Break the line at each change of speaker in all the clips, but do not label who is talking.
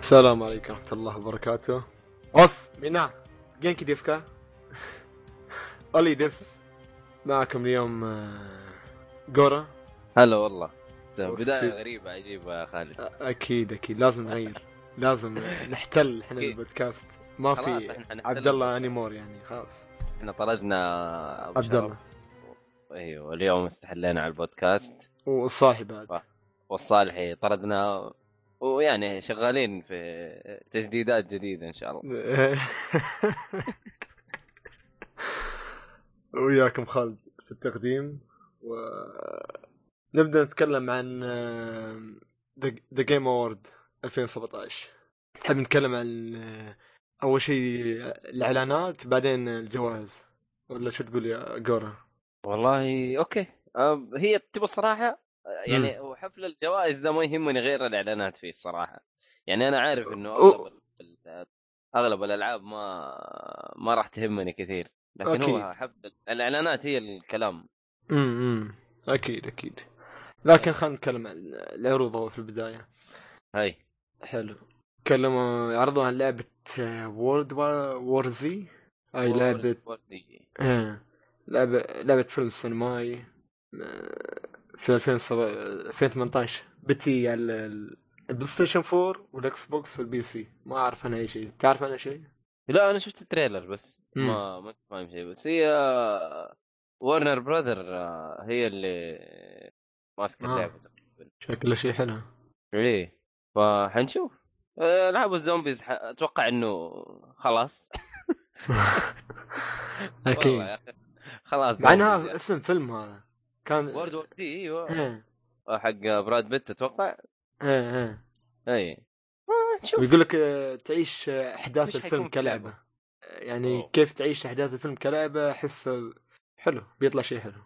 السلام عليكم ورحمة الله وبركاته. おっすみんな元気ですか أولي ديس معكم اليوم آه، جورا
هلا والله تمام،
أوكي.
طيب، بداية غريبة عجيبة يا خالد
أ- أكيد أكيد لازم نغير لازم نحتل احنا
أكيد.
البودكاست ما
خلاص
في
احنا حنختلف.
عبد الله انيمور يعني خلاص
احنا طردنا أبو
عبد الله
شرف. ايوه اليوم استحلينا على البودكاست
والصاحي بعد
صح. والصالحي طردنا ويعني شغالين في تجديدات جديدة ان شاء الله
وياكم خالد في التقديم و نبدا نتكلم عن آه، ذا جيم اوورد 2017 تحب نتكلم عن آه، اول شيء الاعلانات بعدين الجوائز ولا شو تقول يا جورا؟
والله اوكي أم، هي تبغى الصراحة أه، يعني
امم.
هو حفل الجوائز ده ما يهمني غير الاعلانات فيه الصراحة يعني انا عارف انه
أو-
اغلب ال- اغلب الالعاب ما ما راح تهمني كثير لكن هو
أكيد.
حفل الاعلانات هي الكلام
امم اكيد اكيد لكن خلينا نتكلم عن العروض أول في البدايه
هاي
حلو تكلموا عرضوا عن آه، لعبه وورد وور زي اي
وورد-
لعبه
وورد-
آه، لعبه لعبه فيلم سينمائي آه، في 2007 2018 بتي على ال- البلاي ستيشن 4 والاكس بوكس والبي سي ما اعرف انا اي شيء تعرف انا شيء
لا انا شفت التريلر بس
مم.
ما ما كنت فاهم شيء بس هي آه، ورنر براذر آه، هي اللي ماسكه
آه.
اللعبه
شكله شيء حلو
ايه فحنشوف آه، العاب الزومبيز ح- اتوقع انه خلاص والله
اكيد
يا أخي. خلاص
مع انها اسم فيلم هذا كان
وورد وور دي ايوه
ايه
حق براد بيت اتوقع
ايه ايه
اي آه، نشوف
ويقول لك آه، تعيش آه، احداث
وش حيكون
الفيلم
في اللعبة؟
كلعبه يعني
أوه.
كيف تعيش احداث الفيلم كلعبه احس آه، حلو بيطلع شيء حلو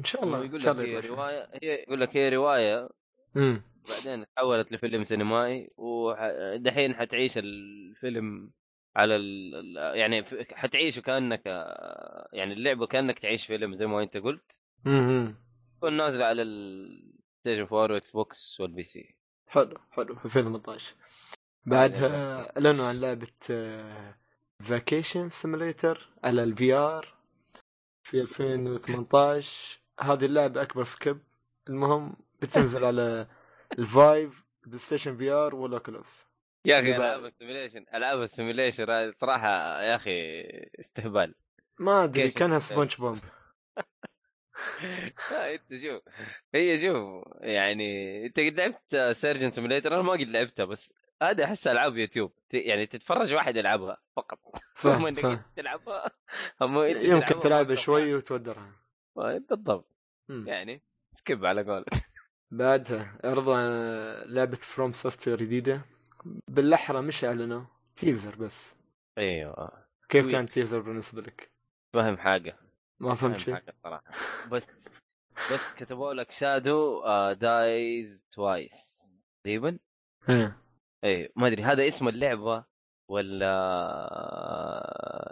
ان شاء الله ان
يقول
شاء
لك
الله
هي
يطلع شيء.
روايه هي يقول لك هي روايه
امم
بعدين تحولت لفيلم سينمائي ودحين حتعيش الفيلم على ال... ال- يعني ف- حتعيشه كانك آه، يعني اللعبه كانك تعيش فيلم زي ما انت قلت
امم
تكون نازله على الستيشن 4 واكس بوكس والبي سي
حلو حلو 2018 بعدها اعلنوا عن لعبه فاكيشن سيميليتر على الفي ار في 2018 هذه اللعبه اكبر سكيب المهم بتنزل على الفايف بلاي ستيشن في ار والاوكولوس
يا اخي
يبقى-
العاب السيميليشن العاب السيميليشن صراحه يا اخي استهبال
ما ادري
كيف
كانها
أنت؟
سبونج بومب
لا، انت شوف هي شوف يعني انت قد لعبت سيرجن سيميليتر انا ما قد لعبتها بس هذا احس العاب يوتيوب ت- يعني تتفرج واحد يلعبها فقط هم
صح
انك
صح
تلعبها هم انت
يمكن
تلعبها
تلعبها
وأنت
شوي وتودرها
طالع. بالضبط
مم.
يعني سكيب على قولك
بعدها عرضوا عن لعبة فروم سوفت وير جديدة بالأحرى مش اعلنوا تيزر بس
ايوه
كيف
وي.
كان تيزر بالنسبة لك؟
فهم حاجه
ما
فهم
فهمت شيء؟
حاجه صراحه بس بس كتبوا لك آه، شادو دايز توايس تقريبا
إيه.
ايه ما ادري هذا اسم اللعبه ولا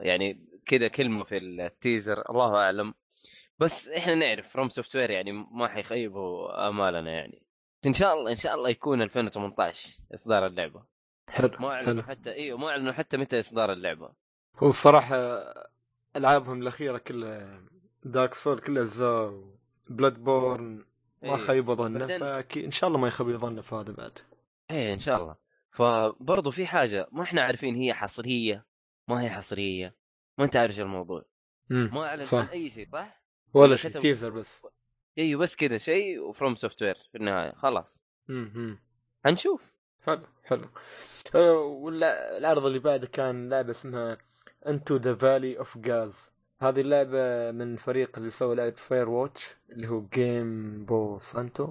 يعني كذا كلمه في التيزر الله اعلم بس احنا نعرف فروم سوفت وير يعني ما حيخيبوا امالنا يعني ان شاء الله ان شاء الله يكون 2018 اصدار اللعبه
حلو
ما
حلو
اعلنوا حتى ايوه ما اعلنوا حتى متى اصدار اللعبه
هو الصراحة ألعابهم الأخيرة كلها دارك سول كلها زا بلاد بورن ما
إيه.
خيبوا ظنه
بعدين-
فأكيد إن شاء الله ما يخيبوا ظنه في هذا بعد
ايه ان شاء الله فبرضه في حاجه ما احنا عارفين هي حصريه ما هي حصريه ما انت عارف شو الموضوع
مم.
ما اعلن عن
صح
اي شيء صح؟
ولا شيء
كتبوا-
تيزر بس
ايوه بس كذا شيء وفروم سوفت وير في النهايه خلاص
مم. مم.
هنشوف
حلو حلو آه، والع- العرض اللي بعده كان لعبه اسمها انتو ذا فالي اوف جاز هذه اللعبه من فريق اللي سوى لعبه فاير واتش اللي هو جيم بو سانتو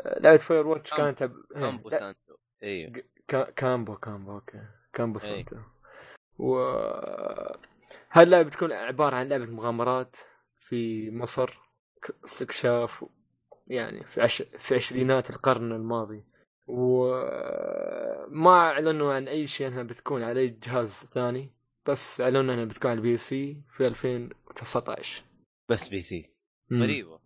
آه، لعبه فاير واتش
كامبو.
كانت عب... إيه،
امبو
لا،
سانتو ايوه
كا- كامبو كامبو اوكي كامبو
إيه.
سانتو و هذه اللعبه بتكون عباره عن لعبه مغامرات في مصر ك- استكشاف يعني في عش... في عشرينات القرن الماضي وما اعلنوا عن اي شيء انها بتكون على اي جهاز ثاني بس اعلنوا انها بتكون على البي سي في 2019
بس بي سي
مم.
غريبه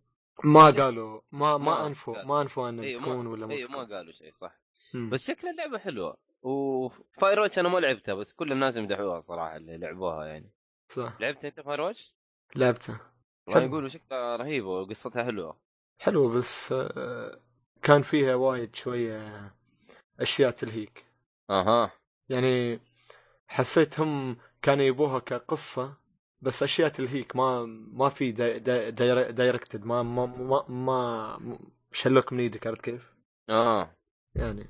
ما قالوا ما ما
ما
انفوا
قالوا.
ما انفوا انها
ايوه
بتكون ولا
ما ايوه ما
ما
قالوا شيء صح
بس
بس شكل اللعبه حلوه وفاير واتش انا ما لعبتها بس كل الناس يمدحوها صراحه اللي لعبوها يعني
صح
لعبت انت فاير واتش؟
لعبته حلو.
يقولوا شكلها رهيبه وقصتها حلوه
حلوه بس آه، كان فيها وايد شويه اشياء تلهيك
اها
يعني حسيت هم كانوا يبوها كقصه بس اشياء تلهيك ما ما في داي- داي- داير- دايركتد ما ما ما, ما شلق من ايدك عرفت كيف؟
اه
يعني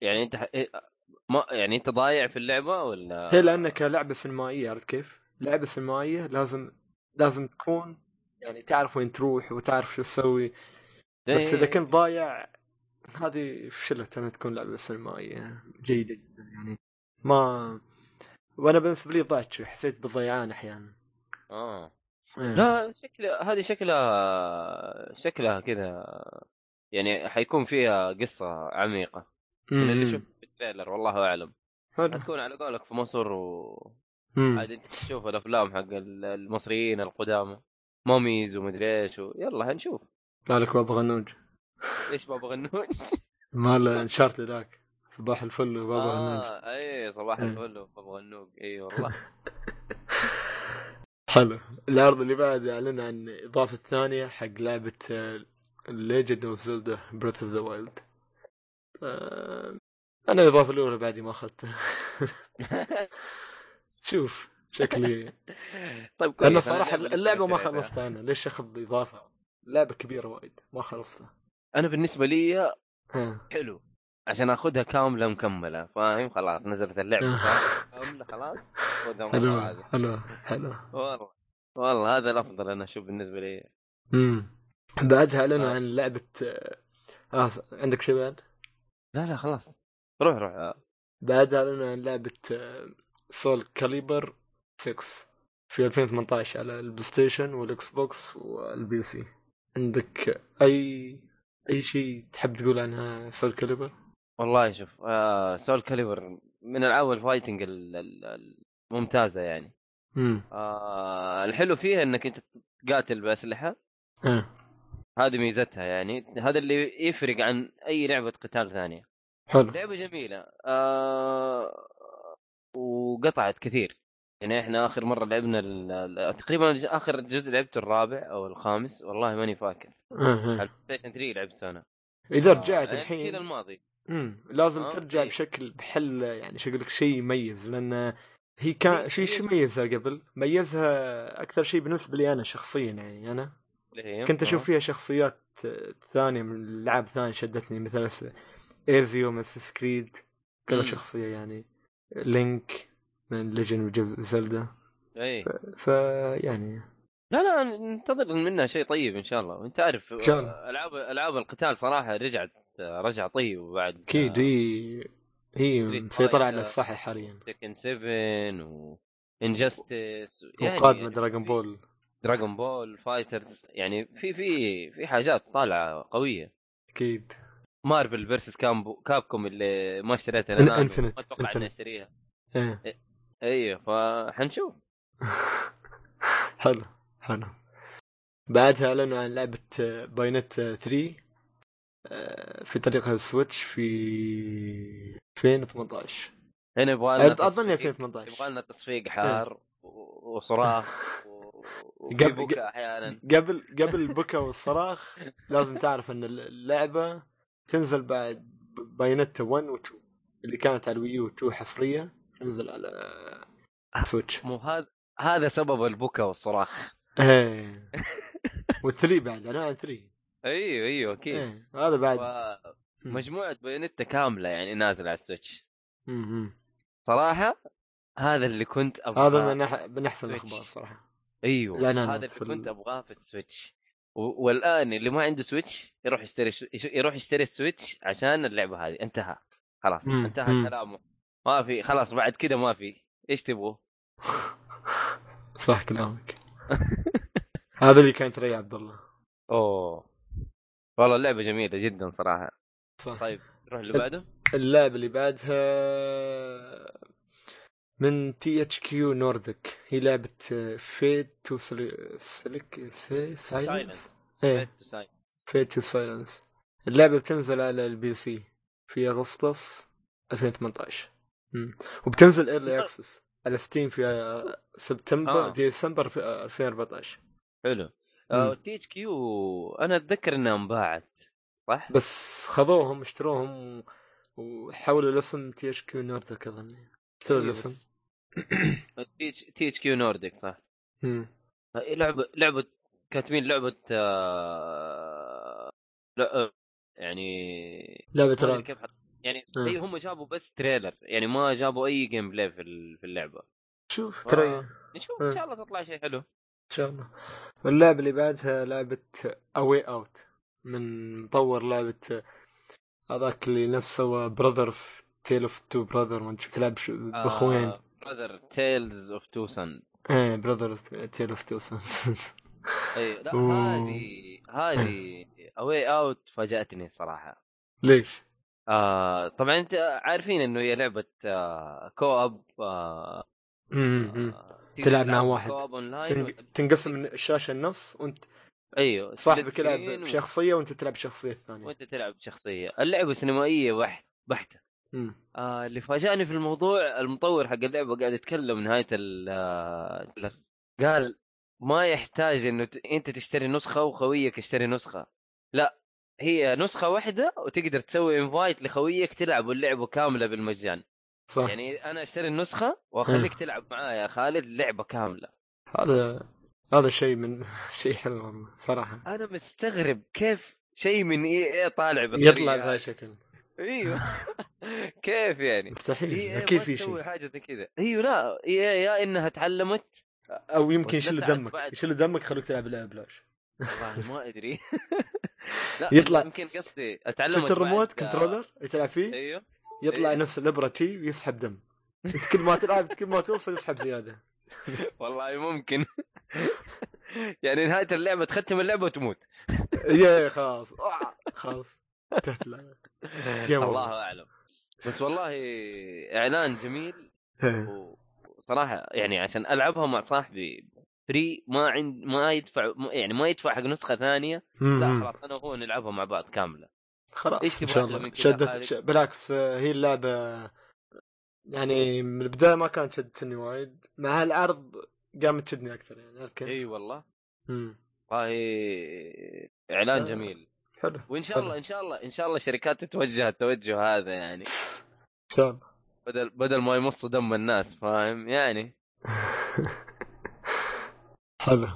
يعني انت ح... إيه- ما يعني انت ضايع في اللعبه ولا
هي لانك لعبه سينمائيه عرفت كيف؟ لعبه سينمائيه لازم لازم تكون يعني تعرف وين تروح وتعرف شو تسوي بس
إيه.
اذا كنت ضايع هذه فشلة انها تكون لعبه سينمائيه جيده جدا يعني ما وانا بالنسبه لي ضعت شوي حسيت بالضيعان احيانا
اه
إيه.
لا شكلها هذه شكلها شكلها كذا يعني حيكون فيها قصه عميقه من اللي
أمم.
شفت في التريلر والله اعلم
حلو.
حتكون على قولك في مصر و
أمم.
عاد انت تشوف الافلام حق ال- المصريين القدامى ماميز ومدري ايش و... يلا هنشوف
لا لك بابا غنوج
ايش بابا غنوج
مال انشارت ذاك صباح الفل وبابا غنوج
آه اي صباح
إيه.
الفل بابا غنوج اي والله
حلو العرض اللي بعد اعلن عن اضافه ثانيه حق آه، لعبه ليجند اوف زلدا بريث اوف ذا وايلد آه، انا الاضافه الاولى بعدي ما اخذتها شوف شكلي
طيب كويس
انا
أنا
صراحه
لسه
اللعبه ما
شاريها.
خلصتها انا ليش اخذ اضافه لعبه كبيره وايد ما خلصتها
انا بالنسبه لي
ها.
حلو عشان اخذها كامله مكمله فاهم خلاص نزلت
آه.
اللعبه فاهم؟ كامله خلاص خذها
حلو
مرة واحدة.
حلو حلو
والله والله هذا الافضل انا اشوف بالنسبه لي
امم بعدها اعلنوا
آه.
عن لعبه آه عندك شيء بعد؟
لا لا خلاص روح روح آه.
بعدها اعلنوا عن لعبة آه، سول كاليبر 6 في 2018 على البلاي ستيشن والاكس بوكس والبي سي عندك اي اي شيء تحب تقول عنها سول كاليبر؟
والله شوف آه سول كاليبر من العاب الفايتنج ال- ال- الممتازه يعني
امم
آه الحلو فيها انك انت تقاتل باسلحه
آه.
هذه ميزتها يعني هذا اللي يفرق عن اي لعبه قتال ثانيه
حلو
لعبه جميله آه وقطعت كثير يعني احنا اخر مره لعبنا ال- ال- تقريبا الج- اخر جزء لعبته الرابع او الخامس والله ماني فاكر
آه.
على
آه.
البلاي ستيشن 3 لعبته انا
اذا رجعت
آه، يعني الجيل
الحين
الماضي
مم. لازم
آه،
ترجع
إيه.
بشكل بحل يعني شو اقول لك شيء يميز لان هي كان
هي-
شيء شو
هي-
ميزها قبل؟ ميزها اكثر شيء بالنسبه لي انا شخصيا يعني انا
اللي هي-
كنت اشوف
آه.
فيها شخصيات ثانيه من العاب ثانيه شدتني مثل س- ايزيو من اساس كريد كذا
مم.
شخصيه يعني لينك من ليجن وجزء زلدا
اي
فيعني
لا لا ننتظر منها شيء طيب ان شاء الله وانت عارف
إن شاء الله.
آه، العاب العاب القتال صراحه رجعت آه، رجع طيب بعد
اكيد هي هي
Street
مسيطره على
Fighter.
الساحه حاليا
تكن 7 و يعني انجستس
وقادمه دراغون بول
دراغون بول فايترز يعني في في في حاجات طالعه قويه
اكيد
مارفل فيرسس كامبو كابكوم اللي ما اشتريتها
إن-
أنا ما
Infinite.
اتوقع اني
Infinite.
اشتريها
إيه.
ايوه فحنشوف
حلو حلو بعدها اعلنوا عن لعبه باينت 3 آه، في طريقها السويتش في 2018
هنا يبغى لنا
اظن
تصفيق-
2018
يبغى لنا
إيه.
تصفيق حار و- وصراخ و- وفي
قبل-
بكاء احيانا
قبل قبل البكا والصراخ لازم تعرف ان اللعبه تنزل بعد بايونيتا 1 و2 اللي كانت على الويو 2 حصريه تنزل على سويتش
مو هذا هذا سبب البكاء والصراخ
ايه و3 بعد انا عن 3
ايوه ايوه اكيد
إيه، هذا بعد
ف- مجموعه بايونيتا كامله يعني نازله على السويتش
م- م.
صراحه هذا اللي كنت ابغاه
هذا من أح- من احسن
سويتش.
الاخبار صراحه
ايوه
لا، لا، لا،
هذا اللي
في ال-
كنت ابغاه في السويتش و- والان اللي ما عنده سويتش يروح يشتري ش- يش- يروح يشتري السويتش عشان اللعبه هذه انتهى خلاص
مم،
انتهى
مم.
كلامه ما في خلاص بعد كذا ما في ايش تبغوا؟
صح كلامك هذا اللي كان تري عبد الله
اوه والله اللعبه جميله جدا صراحه
صح إيه.
طيب نروح اللي بعده
اللعبة اللي بعدها من تي اتش كيو نوردك هي لعبة فيد تو سلك سايلنس
Silence.
ايه
Fate to Silence.
فيد تو سايلنس اللعبة بتنزل على البي سي في اغسطس 2018 مم. وبتنزل ايرلي اكسس على ستيم في آه، سبتمبر
آه.
آه. ديسمبر في آه، 2014
حلو آه،
مم.
تي اتش كيو انا اتذكر انها انباعت صح؟
بس خذوهم اشتروهم و- وحولوا الاسم تي اتش كيو نوردك اظن اشتروا
إيه،
الاسم
تي اتش كيو نورديك صح آه،
مم.
لعبه لعبه كاتبين لعبه آه، لا آه، يعني
لعبة
ما ادري
رعب
كيف حط- يعني
آه.
هي هم جابوا بس تريلر يعني ما جابوا اي جيم بلاي في ال- في اللعبه
شوف
آه.
ترى ان
نشوف
آه.
ان شاء الله تطلع شيء حلو
شاء الله واللعبة اللي بعدها لعبة اواي اوت من مطور لعبة هذاك اللي نفسه سوى براذر تيل اوف تو براذر ما أدري شو تلعب شو-
آه.
باخوين
براذر تيلز اوف تو سانز
ايه براذر تيل اوف تو
اي إيه، لا
أوه. آه.
هذه هذه اواي اوت فاجاتني صراحه
ليش؟
آه طبعا انت عارفين انه هي لعبه آه كو اب آه
مم.
تقدر
تلعب مع
تلعبها
واحد.
كو اب اونلاين
تنق-
ولا-
تنقسم الشاشة النص وانت
ايوه
صاحبك
split screen
يلعب
و-
بشخصية وانت تلعب بشخصية ثانية
وانت تلعب بشخصيه اللعبه سينمائيه بحت بحته
مم.
آه اللي فاجأني في الموضوع المطور حق اللعبه قاعد يتكلم نهايه ال- آه، التريلر. قال ما يحتاج انه ت- انت تشتري نسخه وخويك يشتري نسخه لا هي نسخه واحده وتقدر تسوي انفايت لخويك تلعبوا اللعبه كامله بالمجان
صح إيه. يعني...
يعني انا اشتري النسخه واخليك تلعب معايا يا خالد اللعبه كامله
هذا هذا شيء من شيء حلو والله صراحة
انا مستغرب كيف شيء من اي اي طالع بالطريقه
يطلع بهذا
هذه.
الشكل
ايوه كيف يعني
مستحيل
اي
اكيد
اكيد
في
تسوي
شيء
حاجه زي كذا ايوه لا اي يا انها تعلمت
او يمكن يشيل
واتلسعت
دمك
بعد.
يشيل دمك خلوك تلعب لعب بلاش
والله ما ادري لا
يطلع-
يمكن قصدي اتعلمت
شفت الريموت
بعد-
كنترولر اللي تلعب فيه
ايوه
يطلع
إيه.
نفس الابره تي ويسحب دم أنت كل ما تلعب كل ما توصل يسحب زياده
والله ممكن يعني نهايه اللعبه تختم اللعبه وتموت
يا خلاص آه، خلاص انتهت اللعبة. يا
الله
والله.
اعلم بس والله اعلان جميل
إيه.
و- وصراحه يعني عشان العبها مع صاحبي فري ما عند ما يدفع ما- يعني ما يدفع حق نسخه ثانيه لا
مم.
خلاص انا وهو نلعبها مع بعض كامله إيش
خلاص ان
تبغى
شاء
أحلى
الله
من كذا
شدت
خالد؟
ش... بالعكس آه، هي اللعبه يعني من البدايه ما كانت شدتني وايد مع العرض قامت تشدني اكثر يعني عرفت كيف؟
اي والله
مم.
والله اعلان
آه.
جميل
حلو
وان شاء
حلو.
الله ان شاء الله ان شاء الله شركات تتوجه التوجه هذا يعني
ان شاء الله
بدل بدل ما يمصوا دم الناس فاهم يعني
حلو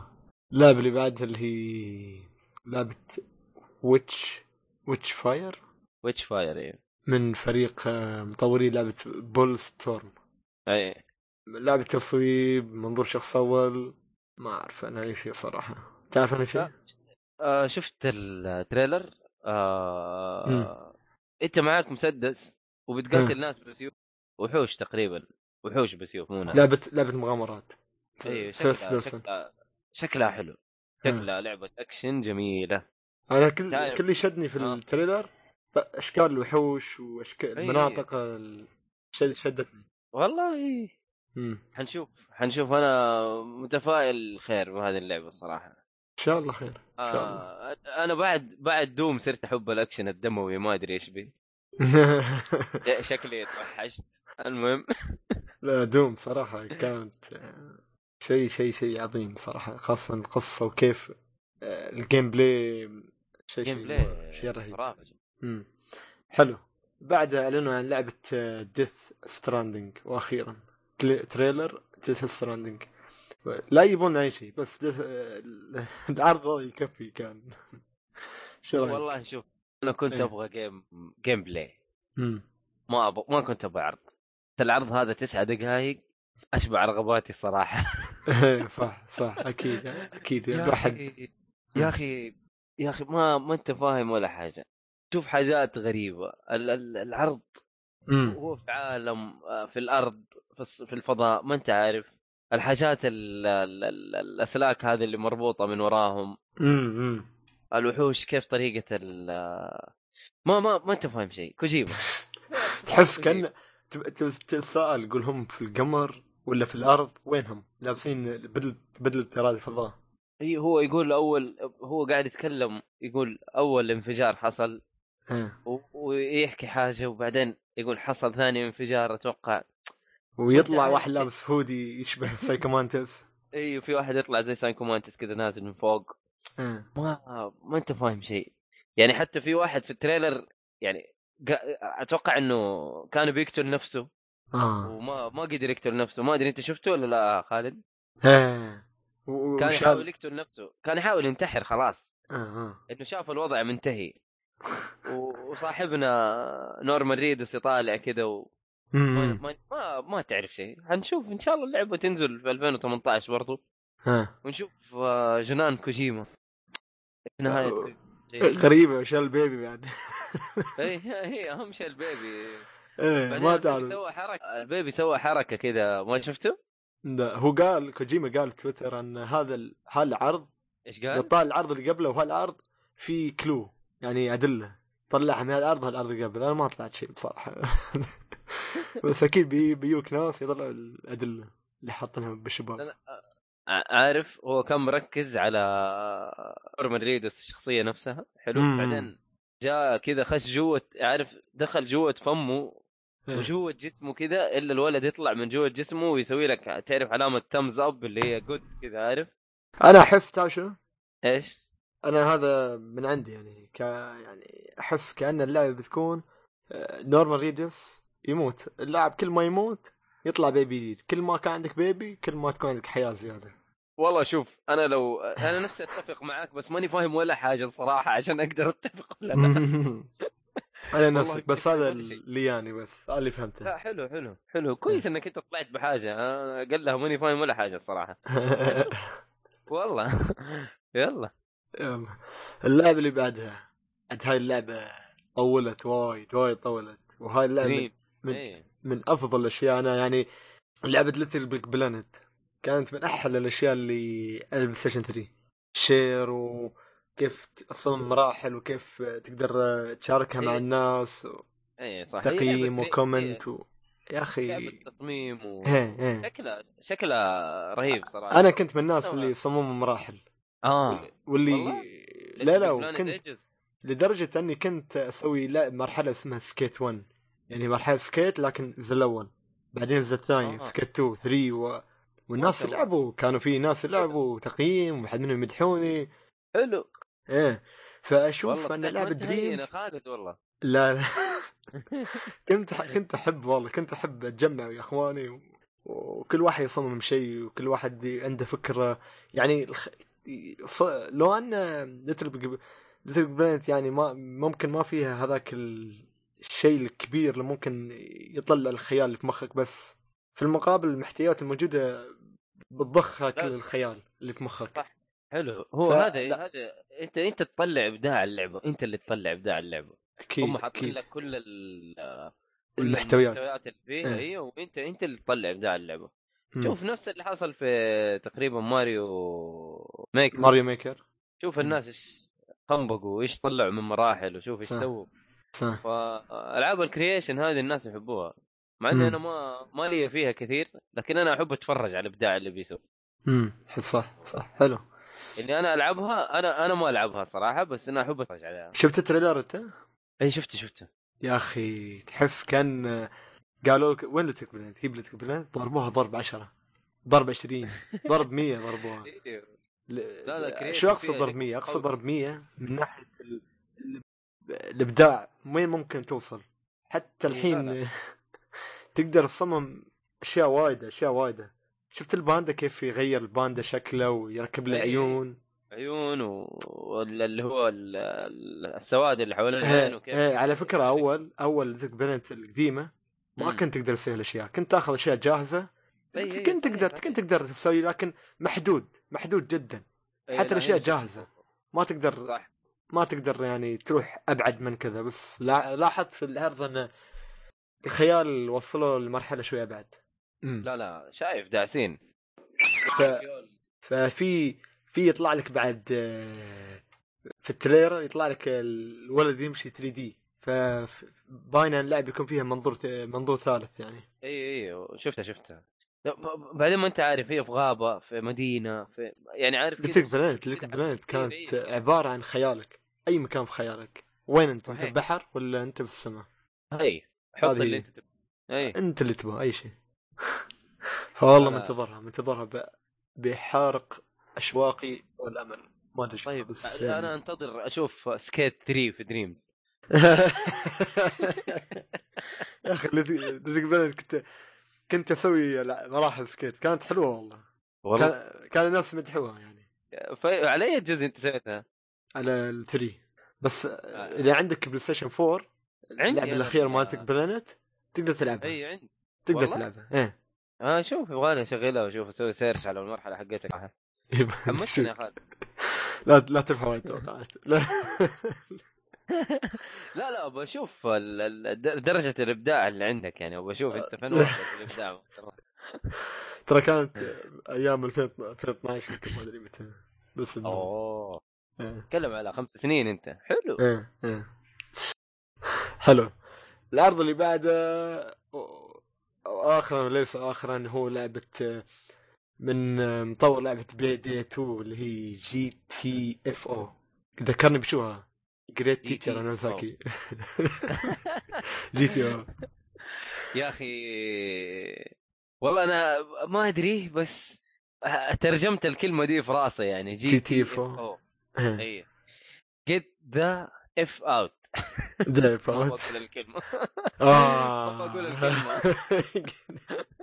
اللعبة اللي بعدها اللي هي لعبة ويتش ويتش فاير
ويتش فاير ايوه
من فريق آه، مطوري لعبة بول ستورم
اي
لعبة تصويب منظور شخص أول ما أعرف أنا أي شيء صراحة تعرف أنا شيء؟
لا. آه شفت التريلر آه انت معاك مسدس وبتقاتل ناس بسيوف وحوش تقريبا وحوش بسيوف مو ناس
لعبة لعبة مغامرات
ايوه
First
شكلها
person. آه.
شكلها شكلها حلو شكلها لعبة اكشن جميلة
أنا كل
تعرف.
كل اللي شدني في
آه. إيه.
التريلر ط- أشكال الوحوش وأشكال
أي.
المناطق ال- شد- شدتني
والله
مم.
حنشوف حنشوف انا متفائل خير بهذه اللعبة صراحة
إن شاء الله خير إن شاء الله
آه انا بعد بعد دوم صرت احب الاكشن الدموي ما ادري ايش بي إيه. شكلي توحشت المهم
لا دوم صراحة كانت آه، شيء شيء شيء عظيم صراحة خاصة القصة وكيف آه، الجيم بلاي شيء
جيم
شيء
بلاي
شيء رهيب
خرافي
مم. حلو بعدها اعلنوا عن لعبة آه، ديث ستراندنج واخيرا تل- تريلر ديث ستراندنج لا يبون اي شيء بس Death- آه، العرض هذا يكفي كان شو رايك؟
والله شوف انا كنت
إيه.
ابغى جيم جيم بلاي
مم.
ما أبغى ما كنت ابغى عرض بس العرض هذا تسعة دقائق اشبع رغباتي صراحه
صح صح اكيد اكيد الواحد
اخي يا اخي يا اخي ما ما انت فاهم ولا حاجه شوف حاجات غريبه ال- ال- العرض
مم.
هو في عالم آه، في الارض في الص- في الفضاء ما انت عارف الحاجات ال ال ال الاسلاك هذه اللي مربوطه من وراهم
مم. مم.
الوحوش كيف طريقه ال آه، ما ما ما انت فاهم شيء كوجيما
تحس كان تب- تس- تتساءل يقول هم في القمر ولا في الارض وينهم؟ لابسين بدل بدل اراده فضاء
إيه، هي هو يقول اول هو قاعد يتكلم يقول اول انفجار حصل
إيه.
و- ويحكي حاجه وبعدين يقول حصل ثاني انفجار اتوقع
ويطلع
متعب
واحد
شيء.
لابس هودي يشبه سايكومانتس
ايوه في واحد يطلع زي سانكو مانتس كذا نازل من فوق آه.
إيه.
ما ما انت فاهم شيء يعني حتى في واحد في التريلر يعني قا- اتوقع انه كان بيقتل نفسه
اه
وما ما قدر يقتل نفسه ما ادري انت شفته ولا لا خالد
إيه. و-
كان
وشاب-
يحاول يقتل نفسه كان يحاول ينتحر خلاص
آه، آه.
انه شاف الوضع منتهي و- وصاحبنا نورمان ريدس يطالع كذا و... ما,
مم.
ما, ما, ما تعرف شيء حنشوف ان شاء الله اللعبه تنزل في 2018 برضو
ها.
ونشوف آه، جنان كوجيما في نهايه
آه.
شيء.
غريبه شال البيبي بعد
إيه، هي هي اهم شيء البيبي
إيه،
بعدين
ما
البيبي
تعرف
سوى حركه البيبي سوى حركه كذا ما شفته؟
لا هو قال كوجيما قال في تويتر ان هذا ال- هالعرض
ايش قال؟
طال العرض اللي قبله وهالعرض في كلو يعني ادله طلعها من هالعرض هالعرض اللي قبله انا ما طلعت شيء بصراحه بس اكيد بي بيوك ناس يطلعوا الادله اللي حاطينها بالشباب
لا، ع- عارف هو كان مركز على نورمان ريدس الشخصيه نفسها حلو
مم.
بعدين جاء كذا خش جوه عارف دخل جوه فمه
إيه.
وجوه جسمه كذا الا الولد يطلع من جوه جسمه ويسوي لك تعرف علامه تمز اب اللي هي جود كذا عارف
انا احس تعرف شنو؟
ايش؟
انا هذا من عندي يعني ك يعني احس كان اللعبه بتكون نورمال ريدس يموت اللاعب كل ما يموت يطلع بيبي جديد كل ما كان عندك بيبي كل ما تكون عندك حياه زياده
والله شوف انا لو انا نفسي اتفق معاك بس ماني فاهم ولا حاجه الصراحه عشان اقدر اتفق ولا لا
انا نفسي بس
والله
هذا
كل شيء.
اللي يعني بس هذا اللي فهمته
لا حلو حلو حلو كويس
إيه.
انك انت طلعت بحاجه أنا قال لها ماني فاهم ولا حاجه الصراحه والله يلا
يلا. اللعبة اللي بعدها عاد هاي اللعبة طولت وايد وايد طولت وهاي اللعبة
دريم
من-
إيه.
من افضل الاشياء انا يعني لعبة ليتل بيج بلانت كانت من احلى الاشياء اللي على البلاي ستيشن 3 شير وكيف تصمم مراحل وكيف تقدر تشاركها مع
إيه.
الناس
ايه صح هي
تقييم
لعبة
وكومنت و... يا
دريم،
اخي
إيه. لعبه إيه، تصميم و...
إيه، إيه.
شكلها شكلها رهيب صراحه
انا كنت من الناس
طبعاً.
اللي صمموا مراحل
اه
واللي
والله؟
لا لا
Planet
وكنت
Ages.
لدرجة اني كنت اسوي لا مرحلة اسمها سكيت 1 يعني مرحلة سكيت لكن الجزء الاول بعدين الجزء الثاني
آه.
سكيت 2 3 و... والناس
ما شاء الله. إيه.
لعبوا كانوا في ناس لعبوا تقييم وحد منهم يمدحوني
حلو
ايه فاشوف
والله
ان لعبة دريمز
انا خالد إيه، والله
لا لا كنت كنت احب والله كنت احب اتجمع ويا اخواني و... وكل واحد يصمم شيء وكل واحد ي- عنده فكره يعني الخ... ص... لو ان ليتل بيج ليتل بلانت يعني ما ممكن ما فيها هذاك ال- الشيء الكبير اللي ممكن يطلع الخيال اللي في مخك بس في المقابل المحتويات الموجوده بتضخها كل
لا.
الخيال اللي في مخك
صح. حلو هو
ف-
هذا
لا.
هذا انت انت تطلع ابداع اللعبه انت اللي تطلع ابداع اللعبه
اكيد
هم حاطين
اكيد
لك كل ال كل
المحتويات
المحتويات اللي فيها
إيه.
ايوه وانت انت اللي تطلع ابداع اللعبه
مم.
شوف نفس اللي حصل في تقريبا ماريو ميك
ماريو ميكر
شوف الناس ايش خنبقوا ايش طلعوا من مراحل وشوف ايش
صح.
سووا
صح
فالعاب الكرييشن هذه الناس يحبوها مع اني
مم.
انا ما ما لي فيها كثير لكن انا احب اتفرج على الابداع اللي بيسوي
امم صح صح حلو
اللي انا العبها انا انا ما العبها صراحه بس انا احب اتفرج عليها
شفت التريلر انت؟
اي شفته شفته
يا اخي تحس كان قالوا لك وين لتك بلانت؟ هي بلتك بلانت ضربوها ضرب 10 ضرب 20 ضرب 100 ضربوها
لا، creative
شو اقصد
فيها
ضرب
شكل
100 اقصد
قوي.
ضرب 100 من ناحيه ال... ال- الابداع وين ممكن توصل حتى
إيه، لا،
الحين تقدر تصمم اشياء وايده اشياء وايده شفت الباندا كيف يغير الباندا شكله ويركب له
إيه.
عيون
عيون و- واللي هو ال- ال- السواد اللي حوالين العين
إيه،
وكيف
إيه، على فكره اول اول لتك بلانت القديمه ما
مم.
كنت تقدر تسوي هالاشياء كنت تاخذ اشياء جاهزه
أي- أي،
كنت
صحيح،
تقدر
صحيح.
كنت تقدر تسوي لكن محدود محدود جدا
إيه،
حتى
لا،
الأشياء
هنا
جاهزة. ما تقدر
صح
ما تقدر يعني تروح ابعد من كذا بس لا- لاحظت في العرض ان الخيال وصلوا لمرحله شويه ابعد
لا لا شايف داعسين
ف- ففي في يطلع لك بعد آه، في التريلر يطلع لك الولد يمشي 3 دي فباين ان اللعب يكون فيها منظور منظور ثالث يعني
اي اي شفتها شفتها لا، ب- ب- بعدين ما انت عارف هي في غابه في مدينه في يعني عارف كذا
ليتل بلانت ليتل بلانت
كذا عفريت
كانت عباره عن خيالك اي مكان في خيالك وين انت؟ انت
صحيح.
ببحر ولا انت بالسماء؟
هي إيه، حط
هذه-
اللي إيه، انت تبغاه اي
انت اللي تبغى اي شيء فوالله
أنا-
منتظرها منتظرها ب... بحارق اشواقي والامل ما ادري شو،
طيب
بس يعني-
انا انتظر اشوف سكيت 3 في دريمز
يا اخي اللي قبل كنت كنت اسوي لا- مراحل سكيت كانت حلوه والله
والله
كان, كان الناس مدحوها يعني
ف... على اي جزء انت سويتها؟
على الثري بس اذا عندك بلاي ستيشن 4 اللعب
آه. أنا
الاخير
ال-
مالتك بلانت تقدر تلعبها
اي عندي
تقدر
والله؟
تلعبها ايه
اه شوف يبغالي اشغلها واشوف اسوي سيرش على المرحله حقتك حمستني يا خالد
لا لا ترفع التوقعات لا
لا لا بشوف ال- ال- د- درجه الابداع اللي عندك يعني وبشوف انت فين وصلت في الابداع
ترى كانت
آه.
ايام 2012 يمكن ما ادري متى بس إنه-
اوه
إيه.
تتكلم على خمس سنين انت حلو
ايه ايه حلو العرض اللي بعده أو- أو اخرا وليس اخرا هو لعبه من مطور لعبه بلاي دي 2 اللي هي جي تي اف او ذكرني بشوها جريت
جي تي
تيتشر انا
إف أو.
زاكي جي تي او
يا اخي والله انا ما ادري بس ترجمت الكلمه دي في راسي يعني جي
تي إف أو.
أو. اي جيت ذا اف اوت
ده
ما
فوت
بقول الكلمه
اه
ما بقول الكلمة.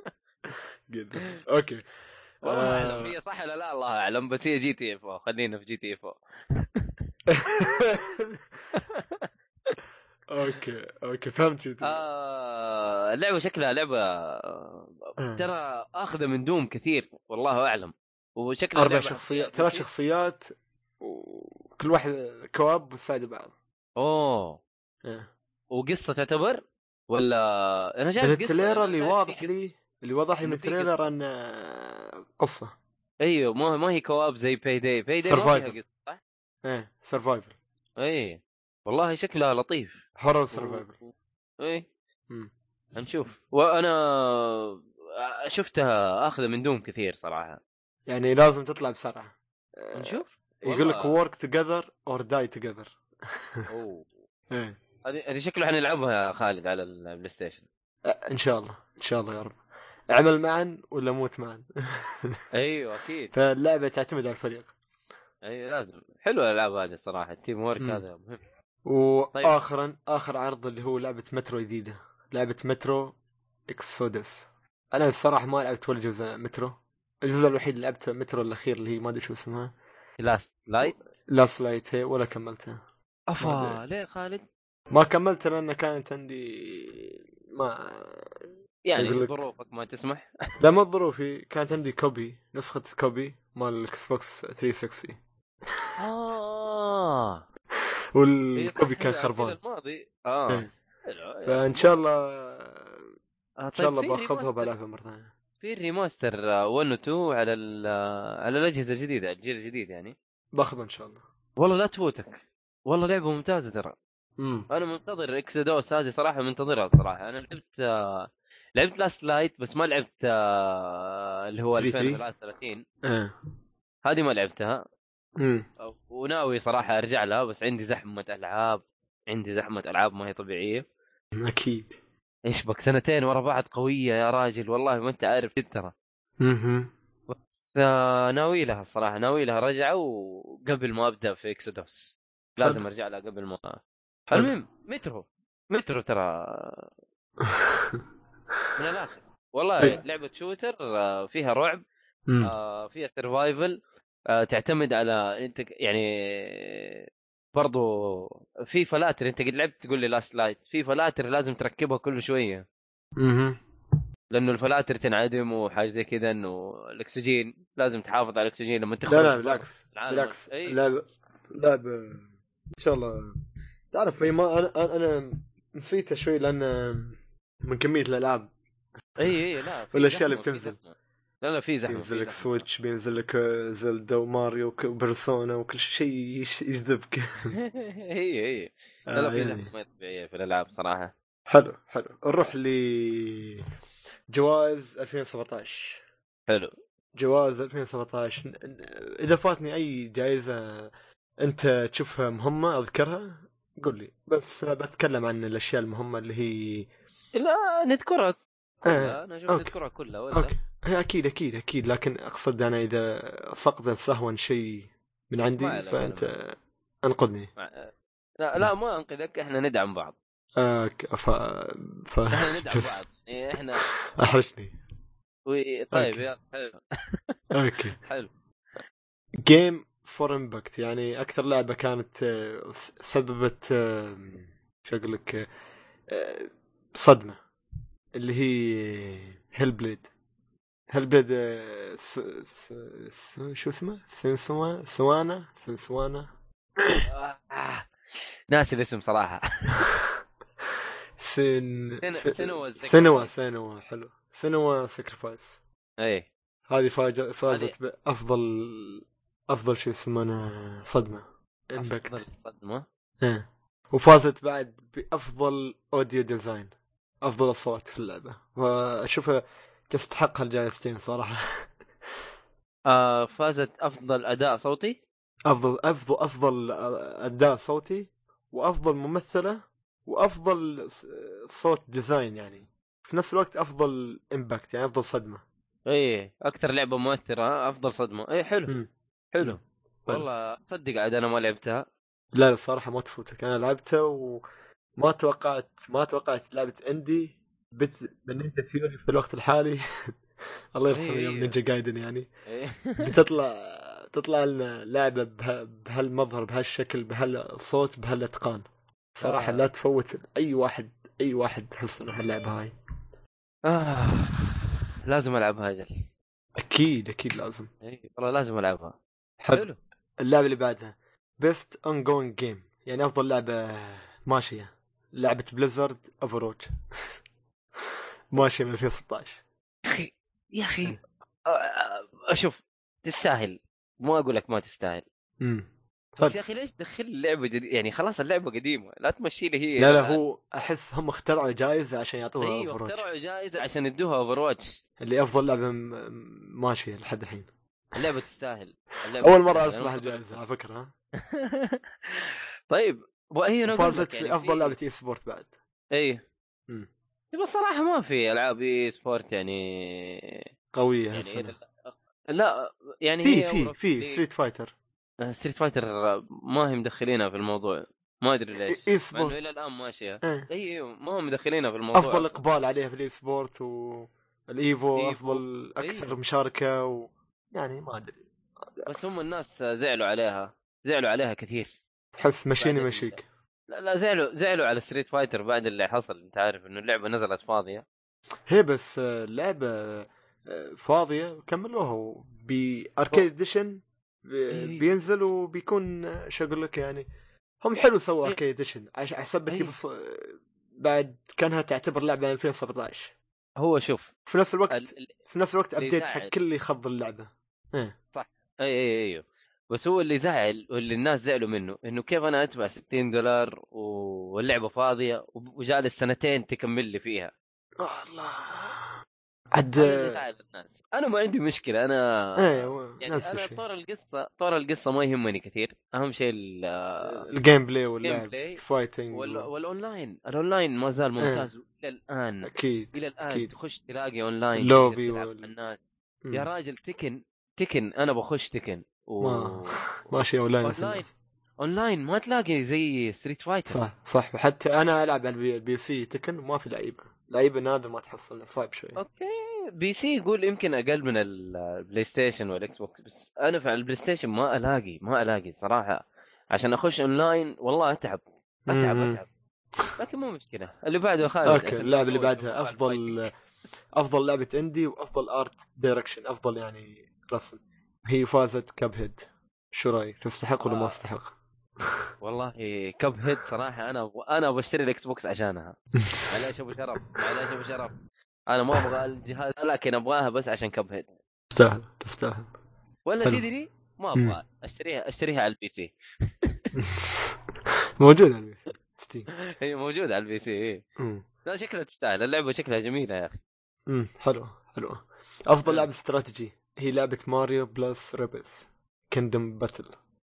جدا. اوكي
والله
آه.
اعلم هي صح ولا لا الله اعلم بس هي جي تي اف او خلينا في جي تي اف او
اوكي اوكي فهمت جدا.
آه، اللعبه شكلها لعبه
آه.
ترى اخذه من دوم كثير والله اعلم وشكلها
اربع
لعبة
شخصيات
أحداث
ثلاث
كثير.
شخصيات وكل واحد كواب وتساعد بعض
اوه
إيه.
وقصه تعتبر ولا انا شايف
من
قصة،
التريلر
أنا
اللي
شايف
واضح
في-
لي اللي واضح لي من
إنه في
التريلر
قصة.
ان آه، قصه
ايوه ما ما هي كواب زي باي داي باي داي ما
Survivor.
فيها قصه صح؟
ايه سرفايفل
اي والله شكلها لطيف
هورر سرفايفل
اي
مم.
هنشوف وانا شفتها اخذه من دوم كثير صراحه
يعني لازم تطلع بسرعه آه،
نشوف
يقول لك
أه، والله.
work together or die together
اوه
ايه
هذه هذه شكله حنلعبها يا خالد على البلاي ستيشن
آه، ان شاء الله ان شاء الله يا رب اعمل معا ولا موت معا
ايوه اكيد
فاللعبه تعتمد على الفريق
اي أيوه، لازم حلوه الالعاب هذه الصراحه التيم ورك
مم.
هذا مهم طيب.
واخرا اخر عرض اللي هو لعبه مترو جديده لعبه مترو اكسودس انا الصراحه ما لعبت ولا جزء مترو الجزء الوحيد اللي لعبته مترو الاخير اللي هي ما ادري شو اسمها
لاست لايت
لاست لايت هي ولا كملتها ما
افا ليه خالد؟
ما كملتها لان كانت عندي ما أقول
يعني
لك.
ظروفك ما تسمح
لا ما ظروفي كانت عندي كوبي نسخه كوبي مال الاكس بوكس 360
اه هي صح
والكوبي كان
كذا-
خربان
كذا الماضي اه
إيه.
حلو.
فان شاء الله
آه،
ان شاء
طيب
الله
في
باخذها
ريماستر-
بلعبها مره ثانيه
في الريماستر آه، 1 و 2 على ال- آه، على الاجهزه الجديده الجيل الجديد يعني
باخذها ان شاء الله
والله لا تفوتك والله لعبه ممتازه ترى
امم
انا منتظر اكسدوس هذه صراحه منتظرها صراحه انا لعبت آه، لعبت لاست لايت بس ما لعبت آه، اللي هو
3-3.
2033
ايه
هذه ما لعبتها
امم
وناوي صراحه ارجع لها بس عندي زحمه العاب عندي زحمه العاب ما هي طبيعيه
اكيد
ايش بك سنتين ورا بعض قويه يا راجل والله ما انت عارف جد ترى
اها
بس آه، ناوي لها الصراحه ناوي لها رجعه وقبل ما ابدا في اكسودوس لازم
حلو.
ارجع لها قبل ما
حلو.
المهم مترو مترو ترى من الاخر والله
طيب.
لعبه شوتر آه، فيها رعب آه، فيها سرفايفل تعتمد على انت ك- يعني برضو في فلاتر انت قد لعبت تقول لي لاست لايت في فلاتر لازم تركبها كل شويه
اها
لانه الفلاتر تنعدم وحاجه زي كذا انه الاكسجين لازم تحافظ على الاكسجين لما تخرج
لا لا بالعكس
العالم.
بالعكس
أي.
لعبة لعبة ان شاء الله تعرف هي ما انا انا, أنا نسيتها شوي لان من كمية الالعاب
اي اي إيه، لا في
والأشياء اللي
زحمة، في
بتنزل.
زحمة. لا لا في زحمه
بينزل
في
لك
زحمة.
سويتش بينزل لك آه، زلدا وماريو وبرسونا وكل شيء يش- يجذبك
اي اي إيه، لا
آه،
لا في
يعني.
زحمه ما طبيعيه في الالعاب صراحه
حلو حلو نروح ل جوائز 2017
حلو
جوائز 2017 ن- ن- اذا فاتني اي جائزه انت تشوفها مهمه اذكرها قول لي بس بتكلم عن الاشياء المهمه اللي هي
لا نذكرها
آه.
كلها انا اشوف
أوكي.
نذكرها كلها ولا
اوكي هي اكيد اكيد اكيد لكن اقصد انا اذا سقط سهوا شيء من
ما
عندي
عليك،
فانت انقذني
ما- آه، لا لا ما انقذك احنا ندعم بعض
اوكي ف ف
احنا ندعم بعض إيه، احنا
احرجتني
وي-
أوكي.
طيب يلا حلو
اوكي
حلو
جيم فور امباكت يعني اكثر لعبه كانت آه، س- سببت آه، شو اقول لك آه، صدمه اللي هي هيل بليد هيل بليد آه، س- س- س- شو اسمه؟ سنسوا سوانا سنسوانا
آه، ناسي الاسم صراحه
سن
سن-
سن-
سنوا الذكر.
سنوا سنوا حلو سنوا سكرفايس
اي
هذه فاج- فازت بافضل افضل شيء يسمونه صدمه امباكت
أفضل صدمه
إيه. وفازت بعد بافضل اوديو ديزاين افضل اصوات في اللعبه واشوفها تستحق هالجائزتين صراحه
آه فازت افضل اداء صوتي
افضل افضل افضل اداء صوتي وافضل ممثله وافضل ص- صوت ديزاين يعني في نفس الوقت افضل امباكت يعني افضل صدمه
اي اكثر لعبه مؤثره افضل صدمه اي إيه، حلو
مم.
حلو
حلو. طيب.
والله تصدق عاد انا ما لعبتها
لا لا صراحه ما تفوتك انا لعبتها وما توقعت ما توقعت لعبه اندي بت بنينجا ثيوري في الوقت الحالي الله يرحمه
إيه.
يوم نينجا جايدن يعني
إيه.
بتطلع تطلع لنا لعبه بها بهالمظهر بهالشكل بهالصوت بهالاتقان صراحه
آه.
لا تفوت اي واحد اي واحد تحس انه هاللعبه هاي
آه. لازم العبها اجل
اكيد اكيد لازم
إي، إيه، والله لازم العبها
حلو اللعبه اللي بعدها بيست اون جوينج جيم يعني افضل لعبه ماشيه لعبه بليزرد اوفروتش ماشيه من 2016
يا اخي يا
إيه.
اخي آه، اشوف تستاهل مو اقول لك ما تستاهل
امم
بس
حلو.
يا اخي ليش تدخل لعبه جديده يعني خلاص اللعبه قديمه لا تمشي لي هي
لا لا هو احس هم اخترعوا جائزه عشان يعطوها
ايوه
اوفروتش
اخترعوا جائزه عشان يدوها اوفر واتش
اللي افضل لعبه م- ماشيه لحد الحين
اللعبه تستاهل اللعبة
اول مره
تستاهل.
اسمع
أنا-
الجائزه على فكره ها
طيب وهي انا أقول لك
فازت
يعني
في افضل لعبه اي سبورت بعد
اي
مم.
تبى الصراحه ما في العاب اي سبورت يعني
قويه
يعني
هالسنه
إلى- لا يعني
في في
هي
في ستريت فايتر
ستريت فايتر آه، ما هي مدخلينها في الموضوع ما ادري ليش
اي
مع انه
سبورت
الى الان ماشيه
إيه.
اي أيوة، ما هم مدخلينها في الموضوع
افضل اقبال عليها في الاي سبورت والايفو
إيفو.
افضل اكثر
إيه.
مشاركه و... يعني ما ادري
بس هم الناس زعلوا عليها زعلوا عليها كثير
تحس مشيني
بعدين-
مشيك
لا لا زعلوا زعلوا على ستريت فايتر بعد اللي حصل انت عارف انه اللعبه نزلت فاضيه
هي بس آه، لعبه آه، فاضيه وكملوها باركيد اديشن
إيه.
آه، بينزل وبيكون آه، شو اقول لك يعني هم حلو سووا
إيه.
اركيد اديشن عشان حسبت هي
إيه.
بص... آه، بعد كانها تعتبر لعبه 2017
هو شوف
في نفس الوقت
ال- ال-
في نفس الوقت
اللي
ابديت
زعل.
حق كل يخض اللعبه
اي اي ايوه بس هو اللي زعل واللي الناس زعلوا منه انه كيف انا ادفع 60 دولار و- واللعبه فاضيه وب- وجالس سنتين تكمل لي فيها آه،
الله عد
هذا اللي زعل الناس انا ما عندي مشكله انا
ايوه
يعني
نفس
انا
الشيء
طور القصه طور القصه ما يهمني كثير اهم شيء ال-
الجيم بلاي
الجيم
واللعب
بلاي
فايتنج
وال-
و...
والاونلاين الاونلاين ما زال ممتاز الى الان
اكيد
الى الان
إيه. أكيد.
تخش تلاقي اونلاين
لوبي
تقدر تلعب
وال-
مع الناس
مم.
يا راجل تكن تكن انا بخش تكن و...
ما- ماشي ولا ناس
أونلاين.
الناس.
اونلاين ما تلاقي زي ستريت فايتر
صح صح وحتى انا العب على البي- البي سي تكن ما في لعيبه لعيبه نادر ما تحصلها صعب شوي
اوكي بي سي يقول يمكن اقل من البلاي ستيشن والاكس بوكس بس انا في البلاي ستيشن ما الاقي ما الاقي صراحه عشان اخش اونلاين والله اتعب اتعب
مم.
اتعب لكن مو مشكله اللي بعده خالد
اوكي
عشان
اللعبه اللي
نطول
بعدها
موضوع الفايتنج.
افضل افضل لعبه اندي وافضل ارت دايركشن افضل يعني رسم هي فازت كاب هيد شو رايك تستحق ولا ما
آه.
تستحق؟
والله كب هيد صراحه انا أبغى- انا بشتري الاكس بوكس عشانها معليش ابو شرف معليش ابو شرف انا ما ابغى الجهاز لكن ابغاها بس عشان كب هيد
تستاهل تستاهل
ولا
حلو.
تدري ما ابغى اشتريها اشتريها على البي سي
موجود على البي سي ستيم
هي موجوده على البي سي إيه.
أمم.
لا شكلها تستاهل اللعبه شكلها جميله يا اخي
امم حلو حلو افضل
حلو.
لعبه استراتيجي هي لعبه ماريو بلس ريبس كندم باتل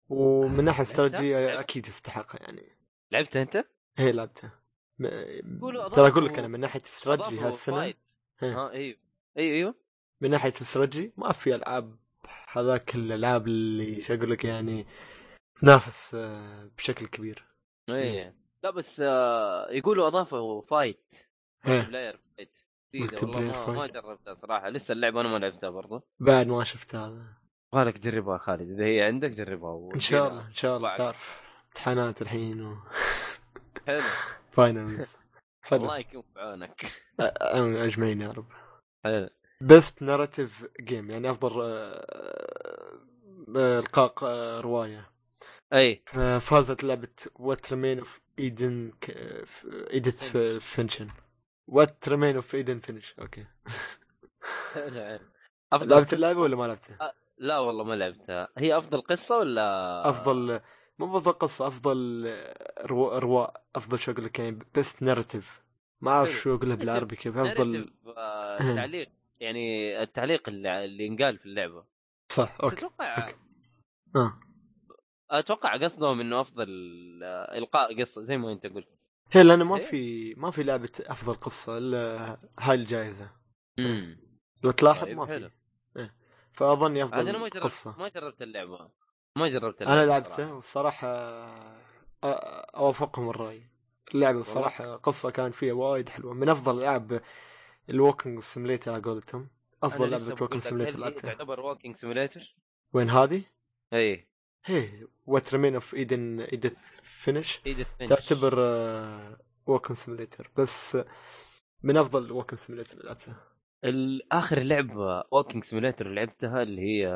ومن ناحيه
لعبتها؟
استراتيجيه
لعبت-
اكيد يستحقها يعني
لعبتها انت؟
هي لعبته م-
قولوا
ترى
أضافوا-
اقول لك انا من ناحيه استراتيجي
أضافوا
هالسنه
فايت.
إيه.
ها ايوه ايوه ايوه
من ناحيه الاستراتيجي ما في العاب هذاك الالعاب اللي شو اقول لك يعني تنافس آه، بشكل كبير
ايه لا بس آه يقولوا اضافوا فايت
إيه.
بلاير فايت جديدة
ملتي
والله ما,
بلاير
ما
فايت.
جربتها صراحه لسه اللعبه انا ما لعبتها برضه
بعد ما شفت هذا
بالك تجربها خالد اذا هي عندك جربها
ان شاء الله ان شاء الله
بعد.
تعرف امتحانات الحين و
حلو
فاينلز حلو
الله يكون في عونك
آه، اجمعين يا رب
حلو
بيست ناريتيف جيم يعني افضل آه، آه، القاء آه، روايه
اي
آه، فازت لعبه وات ريمين اوف ايدن ايديت فينشن وات ريمين اوف ايدن فينش اوكي
حلو حلو. افضل
لعبت
قصة-
اللعبه ولا ما لعبتها؟
لا والله ما لعبتها هي افضل قصه ولا
افضل مو افضل قصه افضل رواء رواء افضل شو اقول لك يعني بيست ناريتيف ما اعرف
حلو.
شو اقولها بالعربي كيف افضل
ناريتيف، آه،
إيه.
تعليق يعني التعليق اللي, اللي انقال في اللعبه
صح اوكي
تتوقع
آه.
اتوقع قصدهم انه افضل آه، القاء قصه زي ما انت قلت
هي لانه ما
إيه.
في ما في لعبه افضل قصه الا هاي الجائزه
امم
لو تلاحظ
طيب،
ما
حلو.
في إيه. فاظني
عاد انا ما
افضل
جربت
قصه
ما جربت اللعبه ما جربت اللعبه
انا لعبته
صراحة.
والصراحه أ- اوافقهم الراي اللعبه الصراحه قصه كانت فيها وايد حلوه من افضل العاب الووكينج سيميليتر على قولتهم افضل
أنا لسه
لعبه
بقول
ووكينج
لك،
سيميليتر
هل هي
لعبتها
تعتبر إيه، ووكينج سيميليتر
وين هذه؟
اي
هي وات ريمين اوف ايدن ايديث فينش
ايديث فينش.
تعتبر ووكن سيميليتر بس آه، من افضل ووكن سيميليتر لعبتها
ال- اخر لعبه ووكينج سيميليتر لعبتها اللي هي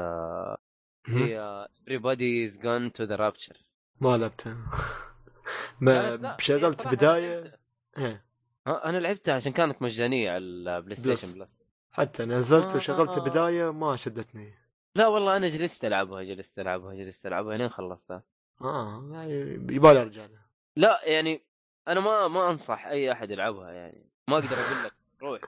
هي everybody's gone to the rapture
ما لعبتها ما
كانت- لا، هي
شغلت
صراحة
بدايه
لعبتها.
إيه،
ها، انا لعبتها عشان كانت مجانيه على البلاي ستيشن
بلس.
بلس
حتى نزلت
آه.
وشغلت بدايه ما شدتني
لا والله انا جلست العبها جلست العبها جلست العبها لين خلصتها آه،
اه يعني يبالي ارجع لها
لا يعني انا ما ما انصح اي احد يلعبها يعني ما اقدر اقول لك روح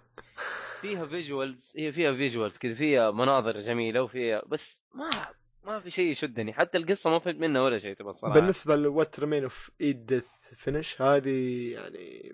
فيها فيجوالز هي فيها فيجوالز كذا فيها مناظر جميله وفيها بس ما ما في شيء يشدني حتى القصه ما فهمت منها ولا شيء تبى الصراحه
بالنسبه لوات ريمين اوف ايديث فينش هذه يعني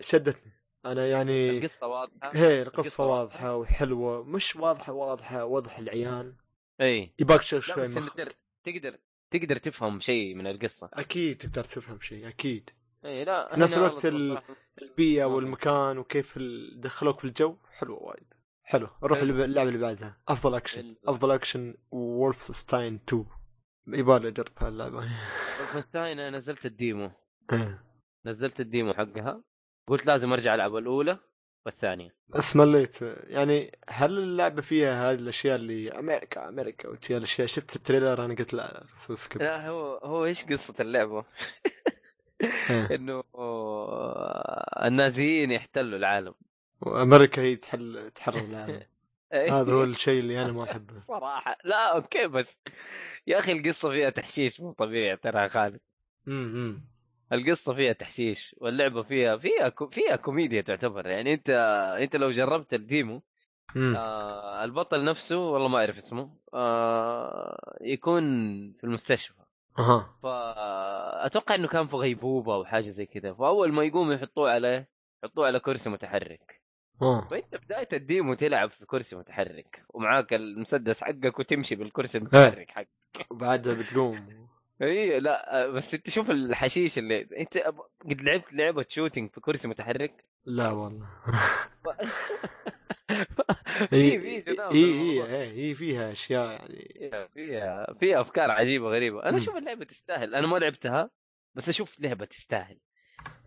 شدتني انا يعني
القصه واضحه
هي القصه واضحه وحلوه مش واضحه واضحه وضح العيان
اي
يباك شيء
لا
شوي
بس
مخ...
تقدر تقدر تقدر تفهم شيء من القصه
اكيد تقدر تفهم شيء اكيد
اي لا
في نفس
هنا
الوقت
والله
ال-
الصراحة-
البيئه
واضح.
والمكان وكيف ال- دخلوك في الجو حلوه وايد حلو نروح
حلو.
للب- اللعبه اللي بعدها افضل اكشن
ال-
افضل اكشن وولفستاين 2 يبالي اجرب هاللعبه
ولفنشتاين انا نزلت الديمو نزلت الديمو حقها قلت لازم ارجع العب الاولى والثانيه
بس مليت يعني هل اللعبه فيها هذه الاشياء اللي امريكا امريكا وتي الاشياء شفت التريلر انا قلت لا لا سو سكيب
لا هو هو ايش قصه اللعبه؟
إيه.
انه النازيين يحتلوا العالم
وامريكا هي تحل تحرر العالم
إيه.
هذا هو الشيء اللي انا ما احبه
صراحه لا اوكي بس يا اخي القصه فيها تحشيش مو طبيعي ترى يا خالد
امم
القصه فيها تحشيش واللعبه فيها فيها كو فيها كوميديا تعتبر يعني انت انت لو جربت الديمو
امم
آه البطل نفسه والله ما اعرف اسمه آه يكون في المستشفى
اها
فاتوقع انه كان في غيبوبه او حاجه زي كذا فاول ما يقوم يحطوه على يحطوه على كرسي متحرك
اه
فانت بدايه طيب، الديمو تلعب في كرسي متحرك ومعاك المسدس حقك وتمشي بالكرسي المتحرك حقك
وبعدها بتقوم
اي لا آه، بس انت شوف الحشيش اللي انت أب- قد لعبت لعبه شوتينج في كرسي متحرك
لا والله
في في جنان
اي
بالموضوع.
اي اي فيها اشياء يعني
فيها- فيها فيها افكار عجيبه غريبه انا
مم.
اشوف اللعبه تستاهل انا ما لعبتها بس اشوف لعبه تستاهل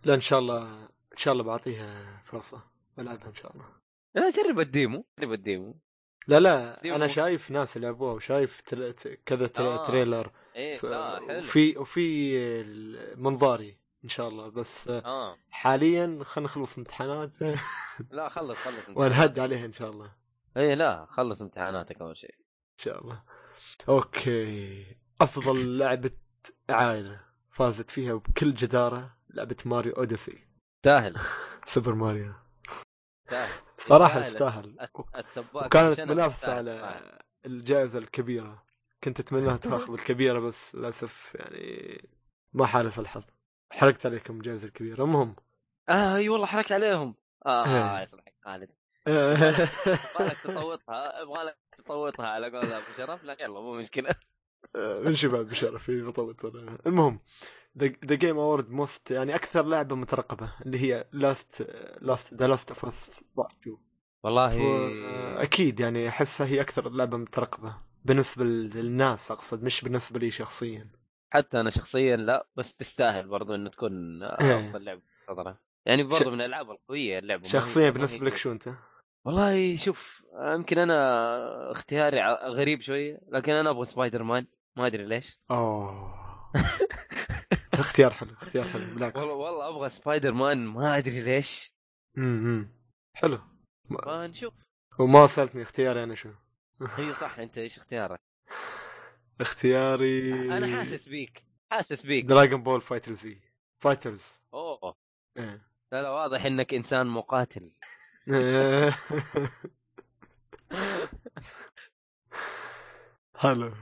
لا ان شاء الله ان شاء الله بعطيها فرصه بلعبها ان شاء الله
انا اجرب الديمو اجرب الديمو
لا لا
ديمو.
انا شايف ناس لعبوها وشايف تل... ت- كذا تل...
آه.
تريلر
ايه
ف...
لا حلو
وفي وفي منظاري ان شاء الله بس
اه
حاليا خلينا نخلص امتحانات
لا خلص خلص
ونهد عليها ان شاء الله ان
اي لا خلص امتحاناتك اول شيء
شاء الله اوكي افضل لعبه عائله فازت فيها بكل جداره لعبه ماريو اوديسي
تستاهل
سوبر ماريو
تستاهل
صراحه
يستاهل.
تستاهل
السباك
وكانت
عشان
منافسه
تستاهل.
على الجائزه الكبيره كنت اتمنى تاخذ الكبيره بس للاسف يعني ما حالف الحظ حرقت عليكم جائزة كبيرة المهم
اه اي والله حركت عليهم اه
إيه.
يصلحك خالد
آه،
يبغى لك تطوطها يبغى لك تطوطها على قول ابو شرف لكن يلا مو مشكله
من شباب بشرف إيه، بطلت أنا. المهم ذا جيم اوورد موست يعني اكثر لعبه مترقبه اللي هي لاست لاست ذا لاست اوف اس بارت 2
والله
اكيد يعني احسها هي اكثر لعبه مترقبه بالنسبه للناس اقصد مش بالنسبه لي شخصيا
حتى انا شخصيا لا بس تستاهل برضو انه تكون
إيه.
افضل لعبه صدرة يعني
ش-
برضو من الالعاب القويه اللعبه ما هي- ما
شخصيا
هي
بالنسبه لك شو انت؟
والله شوف يمكن انا اختياري ع- غريب شويه لكن انا ابغى سبايدر مان ما ادري ليش
اوه اختيار حلو اختيار حلو بالعكس
والله والله ابغى سبايدر مان ما ادري ليش
امم حلو
فنشوف
وما سالتني اختياري انا شو
هي صح انت ايش اختيارك
اختياري
انا حاسس بيك حاسس بيك
دراجون بول فايتر زي فايترز
اوه
إيه.
لا لا واضح انك انسان مقاتل
حلو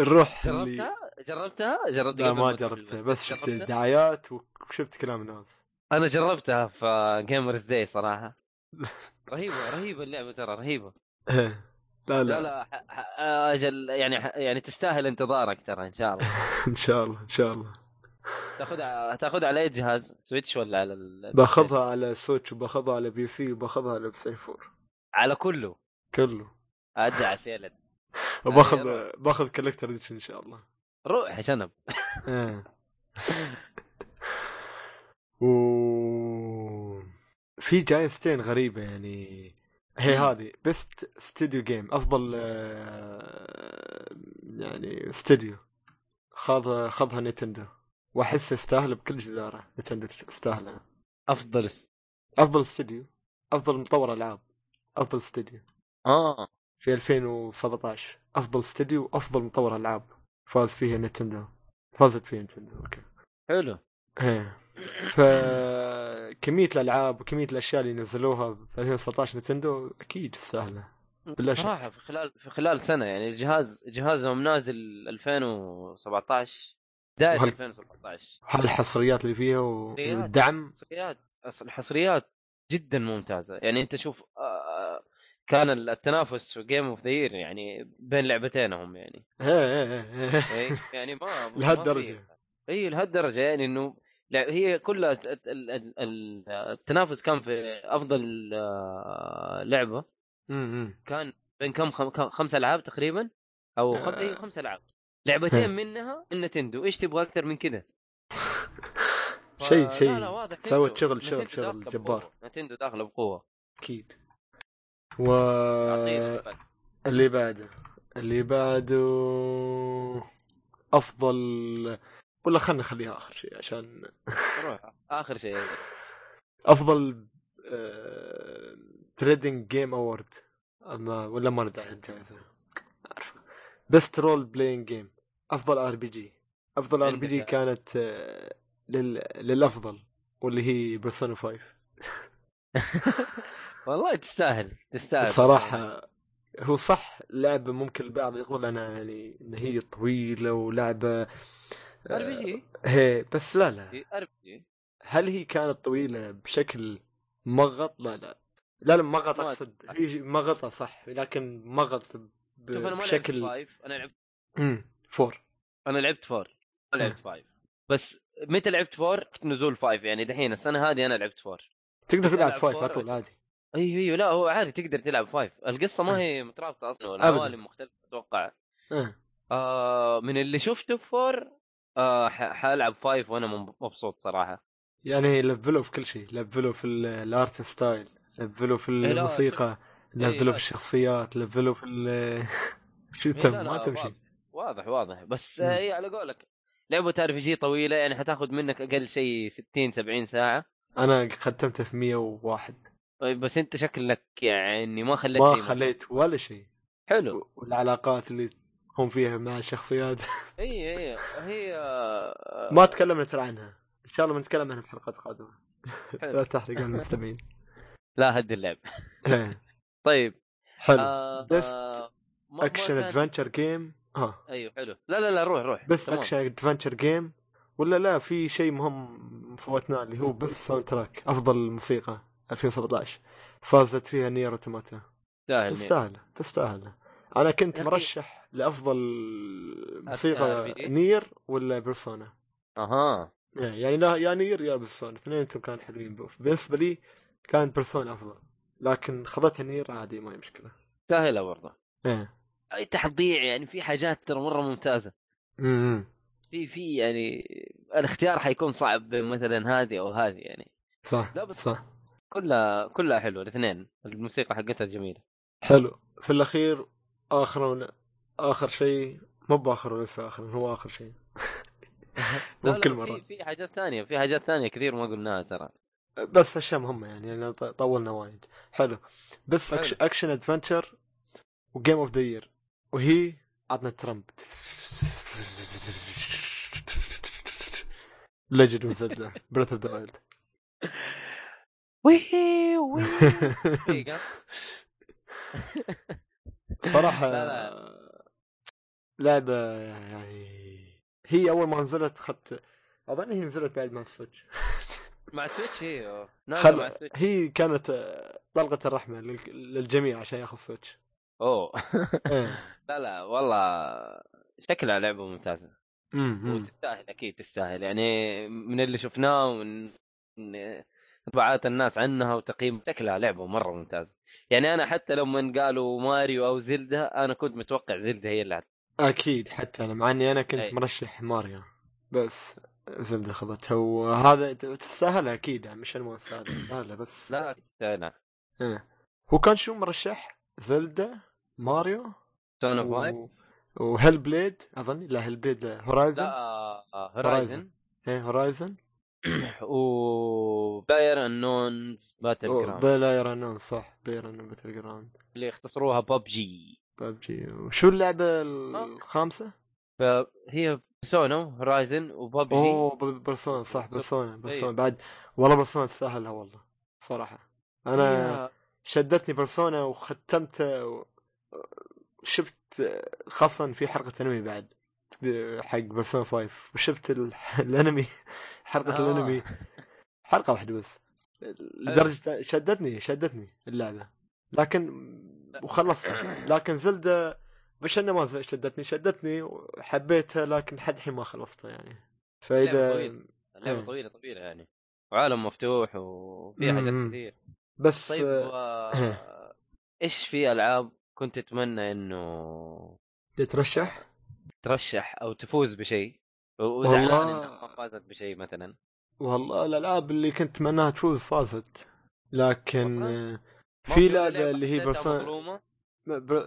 نروح اللي
جربتها جربتها جربت
لا
قبل
ما
تقول
جربتها بس شفت
جربتها؟
دعايات وشفت كلام الناس
انا جربتها في جيمرز داي صراحه رهيبه رهيبه اللعبه ترى رهيبه
إيه. لا لا,
لا لا ح- ح- اجل يعني ح- يعني تستاهل انتظارك ترى ان شاء الله
ان شاء الله ان شاء الله
تاخذها تاخذها على اي جهاز سويتش ولا على ال...
باخذها على سويتش وباخذها على بي سي وباخذها على بلاي 4
على كله
كله
ادعى على سيلد
وباخذ باخذ كولكتر اديشن ان شاء الله
روح يا شنب
إيه. و في جايزتين غريبة يعني هي
مم.
هذه بيست استوديو جيم افضل آه، يعني استوديو خاض خاضها نينتندو واحس يستاهل بكل جداره نينتندو تستاهلها
افضل س...
افضل استوديو افضل مطور العاب افضل استوديو
اه
في 2017 افضل استوديو وافضل مطور العاب فاز فيها نينتندو فازت فيها نينتندو اوكي
حلو
ايه ف كمية الالعاب وكمية الاشياء اللي نزلوها في 2017 نتندو اكيد سهلة بلا شك.
صراحه في خلال في خلال سنه يعني الجهاز جهازهم نازل 2017 بدايه
وهل-
2017
هالحصريات اللي فيها و-
حصريات.
والدعم
الحصريات أصل الحصريات جدا ممتازه يعني انت شوف آه، كان التنافس في جيم اوف ذا يير يعني بين لعبتينهم يعني
إيه، إيه، إيه، إيه.
إيه، يعني ما ما-
لهالدرجة.
ما في- اي لهالدرجه يعني انه لا- هي كلها ت- ت- ال- ال- ال- التنافس كان في افضل آه، لعبه
أمم، أمم.
كان بين كم خم- كم- خمس العاب تقريبا او خم...
آه.
اي خمس العاب
آه.
لعبتين منها النتندو ايش تبغى اكثر من كذا ف-
شيء
لا لا
شيء
واضح
سوت
نتندو-
شغل-
نتندو
شغل- شغل
داخلة
جبار.
بقوة. نتندو داخله بقوه
اكيد و آه.
عطيه feedback.
اللي بعده اللي بعده افضل ولا خلنا نخليها اخر شيء عشان
روح اخر شيء
افضل آه، تريدنج جيم اوورد اما ولا ما ندعي الجائزه بيست رول بلاين جيم افضل ار بي جي افضل ار بي جي
عندك.
كانت آه، لل... للافضل واللي هي بيرسونا 5
والله تستاهل تستاهل
صراحه هو صح لعبه ممكن البعض يقول انا يعني ان هي طويله ولعبه
ار بي جي
هي بس لا لا
ار بي جي
هل هي كانت طويلة بشكل مغط؟ لا لا لا لا مغط
ما-
اقصد هي مغطة صح لكن مغط ب-
شوف انا ما لعبت
بشكل
فايف انا لعبت
مم، فور
انا لعبت فور
آه.
ما لعبت فايف بس متى لعبت فور؟ كنت نزول فايف يعني دحين السنه هذه انا لعبت فور
تقدر تلعب
ألعب
فايف
فور
على طول عادي
ايوه ايوه لا هو عادي تقدر تلعب فايف القصه ما هي مترابطه اصلا ولا
آه. أبداً.
عوالم مختلفه اتوقع
آه.
آه من اللي شفته في فور آه ح- حالعب فايف وانا مب- مبسوط صراحه
يعني لفلوا في كل شيء لفلوا في ال- الارت ستايل لفلوا في
لا،
الموسيقى
إيه، لا.
لفلوا في الشخصيات لفلوا في ال شو
إيه،
تم-
لا، لا،
ما تمشي
واضح. واضح واضح بس
مم.
آه، هي على قولك لعبة ار جي طويلة يعني حتاخذ منك اقل شيء 60 70 ساعة
انا ختمته في 101
طيب بس انت شكلك يعني ما خليت
ما
شيء
خليت ولا شيء
حلو
والعلاقات اللي تقوم فيها مع الشخصيات
اي اي إيه، هي آه،
ما تكلمنا ترى عنها ان شاء الله بنتكلم عنها في حلقات قادمه
حلو.
لا تحرق على المستمعين
لا هد اللعب
إيه.
طيب
حلو
آه،
Best
آه، ما- ما
اكشن
كان-
ادفنتشر جيم ها
ايوه حلو لا لا لا روح روح
بس
تمام.
اكشن ادفنتشر جيم ولا لا في شيء مهم فوتناه اللي هو بس ساوند تراك افضل موسيقى 2017 فازت فيها نير اوتوماتا
تستاهل
تستاهل تستاهل انا كنت
آه، يا أخي. آه،
مرشح لافضل موسيقى
أستاهل
نير ولا بيرسونا
اها
إيه، يعني لا يا نير يا بيرسونا اثنينهم كانوا حلوين بالنسبه لي كان بيرسونا افضل لكن خذتها نير عادي ما هي مشكله
تستاهلها برضه
ايه
اي تحضيع يعني في حاجات ترى مره ممتازه
امم
في في يعني الاختيار حيكون صعب بين مثلا هذه او هذه يعني
صح
لا بس-
صح
كلها كلها حلوه الاثنين الموسيقى حقتها جميله
حلو في الاخير اخر اخر شيء مو باخر لسه اخر هو اخر شيء
لا، لا،
مو كل
في-
مره
في حاجات ثانيه في حاجات ثانيه كثير ما قلناها ترى
بس اشياء مهمه يعني لأن ط- طولنا وايد حلو بس
حلو.
أكش... اكشن ادفنتشر وجيم اوف ذا يير وهي عطنا ترامب لجد ومسدله بريث اوف ذا وايلد
وي وي دقيقة.
صراحه
لا،
لعبه يعني هي اول ما نزلت خدت اظن هي نزلت بعد ما السويتش
مع سويتش هي أوه. نازلة مع
خل...
سويتش
هي كانت آه، طلقه الرحمه لل... للجميع عشان ياخذ سويتش
اوه
إيه.
لا لا والله شكلها لعبه ممتازه
أمم، أمم.
وتستاهل اكيد تستاهل يعني من اللي شفناه ومن من انطباعات الناس عنها وتقييم شكلها لعبه مره ممتازه يعني انا حتى لما قالوا ماريو او زلدا انا كنت متوقع زلدا هي اللي هت-
اكيد حتى انا مع اني انا كنت
أي.
مرشح ماريو بس زبده خذتها وهذا تستاهلها اكيد يعني مش أنا ما استاهلها تستاهلها بس
لا تستاهلها
إيه. هو كان شو مرشح؟ زلدة ماريو
سون اوف ماي
و... وهيل بليد اظن لا هيل بليد لا
لا
هورايزن
هورايزن
ايه هورايزن
وباير انونز باتل جراوند
بلاير انون صح بلاير انون باتل جراوند
اللي يختصروها ببجي
ببجي وشو اللعبة الخامسة؟
هي سونو هورايزن وببجي
اوه ب- بيرسونا صح بيرسونا بيرسونا
أيوة.
بعد والله بيرسونا تستاهلها والله صراحة انا
هي-
شدتني بيرسونا وختمتها و... شفت خاصة في حلقة انمي بعد حق بيرسونا 5 وشفت ال... الانمي حلقة
آه.
آه. الانمي حلقة واحدة بس
آه.
لدرجة شدتني شدتني اللعبة لكن
آه.
وخلصتها لكن زلدة مش انها ما زل- شدتني شدتني وحبيتها لكن حد الحين ما خلصتها يعني
لعبة
فاذا
طويلة. لعبه
إيه.
طويله طويله يعني وعالم مفتوح وفيها حاجات
مم.
كثير
بس
طيب
آه،
و... ايش في العاب كنت تتمنى انه
تترشح
ترشح او تفوز بشيء و- وزعلان
والله-
انها ما فازت بشيء مثلا
والله الالعاب اللي كنت اتمناها تفوز فازت لكن
والله؟
آه،
ما
في
ولا
لعبه اللي هي
حسيتها
برسان
مظلومه
بر...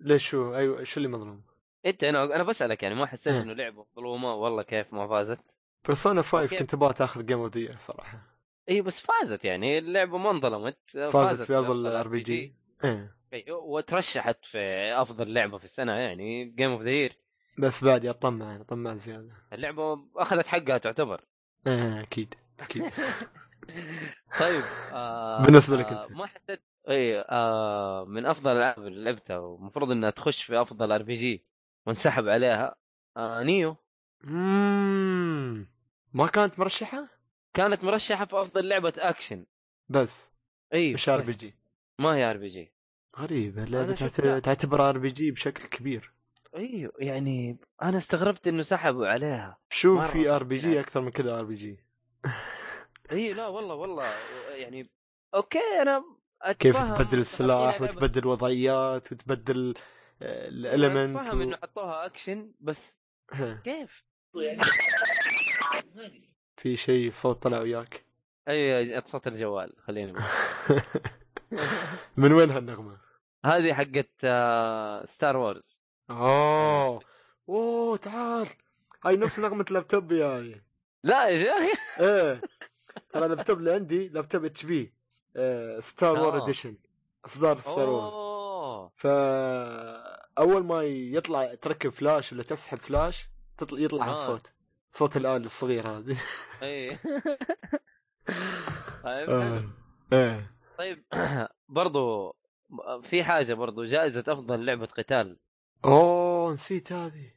ليش هو ايوه شو اللي مظلوم؟
انت انا انا بسالك يعني ما حسيت
إيه.
انه لعبه مظلومه والله كيف ما فازت
بيرسونا 5
أوكي.
كنت ابغاها تاخذ جيم اوف صراحه
اي إيه، بس فازت يعني اللعبه ما انظلمت
فازت في افضل
بأفضل
ار بي جي إيه.
RPG. أيوه، وترشحت في افضل لعبه في السنه يعني جيم اوف ذا يير
بس بعد اطمع اطمع زياده
اللعبه اخذت حقها تعتبر
إيه، اكيد اكيد
طيب آه
بالنسبة لك
آه
أنت.
ما حسيت اي آه من افضل الالعاب اللي لعبتها ومفروض انها تخش في افضل ار بي جي وانسحب عليها آه نيو
مم. ما كانت مرشحه
كانت مرشحه في افضل لعبه اكشن
بس
اي
مش ار بي
بس
جي
إيه، ما هي ار بي جي
غريبه اللعبه
شفت-
تعت- تعتبر ار بي جي بشكل كبير
ايوه يعني انا استغربت انه سحبوا عليها
شو
مرة
في ار بي
يعني.
جي اكثر من كذا ار بي جي
اي إيه، لا والله والله يعني اوكي انا
كيف
أتفهم
تبدل السلاح
حاطين لعبة-
وتبدل وضعيات وتبدل الالمنت
اتفهم انه حطوها اكشن بس كيف؟
في شيء صوت طلع وياك
اي إيه، صوت الجوال خلينا نقول
من وين هالنغمه؟
هذه حقت آه، ستار وورز
اوه اوه آه. تعال هاي نفس نغمه اللابتوب ياي
لا يا شيخ
ايه ترى اللابتوب اللي عندي لابتوب اتش بي ستار وور
آه.
اديشن اصدار ستار وور
اوه
فاول ما يطلع تركب فلاش ولا تسحب فلاش تطلع يطلع
آه.
هالصوت صوت الآلة الصغير هذه
اي طيب إيه. حلو.
ايه
طيب برضو في حاجه برضو جائزه افضل لعبه قتال
اوه نسيت هذه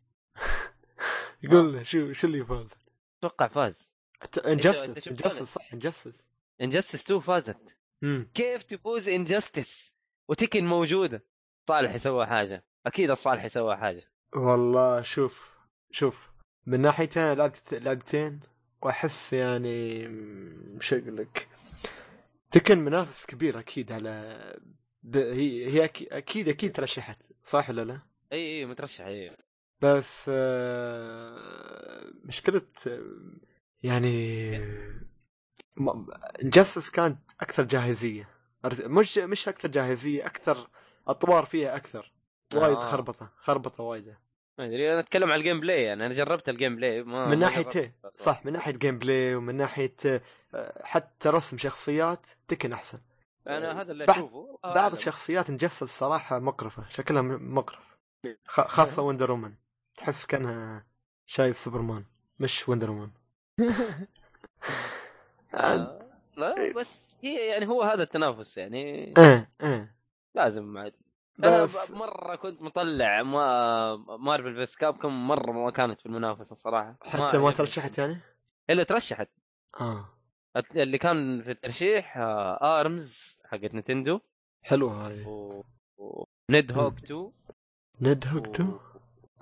قلنا شو شو اللي فاز؟
اتوقع فاز أنت
انجستس
شفت
انجستس
هذا؟
صح انجستس
انجستس 2 فازت
امم
كيف تفوز انجستس وتكن موجوده صالح يسوى حاجه اكيد الصالح يسوى حاجه
والله شوف شوف من ناحيتين أنا لعبت لعبتين واحس يعني مم، شو اقول لك تكن منافس كبير اكيد على ب... هي هي أكي- اكيد اكيد ترشحت صح ولا لا؟
اي اي مترشح اي
بس آه، مشكلة آه، يعني جاستس كانت أكثر جاهزية أرت- مش مش أكثر جاهزية أكثر أطوار فيها أكثر وايد
آه.
خربطة خربطة وايدة
ما ادري انا اتكلم على الجيم بلاي يعني انا جربت الجيم بلاي ما ما
من ناحيتين
جربت.
صح من ناحية جيم بلاي ومن ناحية آه، حتى رسم شخصيات تكن أحسن
انا هذا اللي
بعض-
اشوفه آه،
بعض
أعلم.
الشخصيات مجسس صراحة مقرفة شكلها م- مقرف
إيه.
خ- خاصة وندر وومن تحس كانها شايف سوبرمان مش وندر وومن آه،
آه، لا بس هي يعني هو هذا التنافس يعني
ايه ايه
لازم عاد انا
بس
ب- مره كنت مطلع ما مارفل فيس كاب كم مره ما كانت في المنافسه صراحه
حتى ما
عجبني.
ترشحت يعني؟
الا ترشحت
اه
الت- اللي كان في الترشيح ارمز حقت نتندو
حلوة هاي
و... ونيد هوك 2
نيد
و-
هوك تو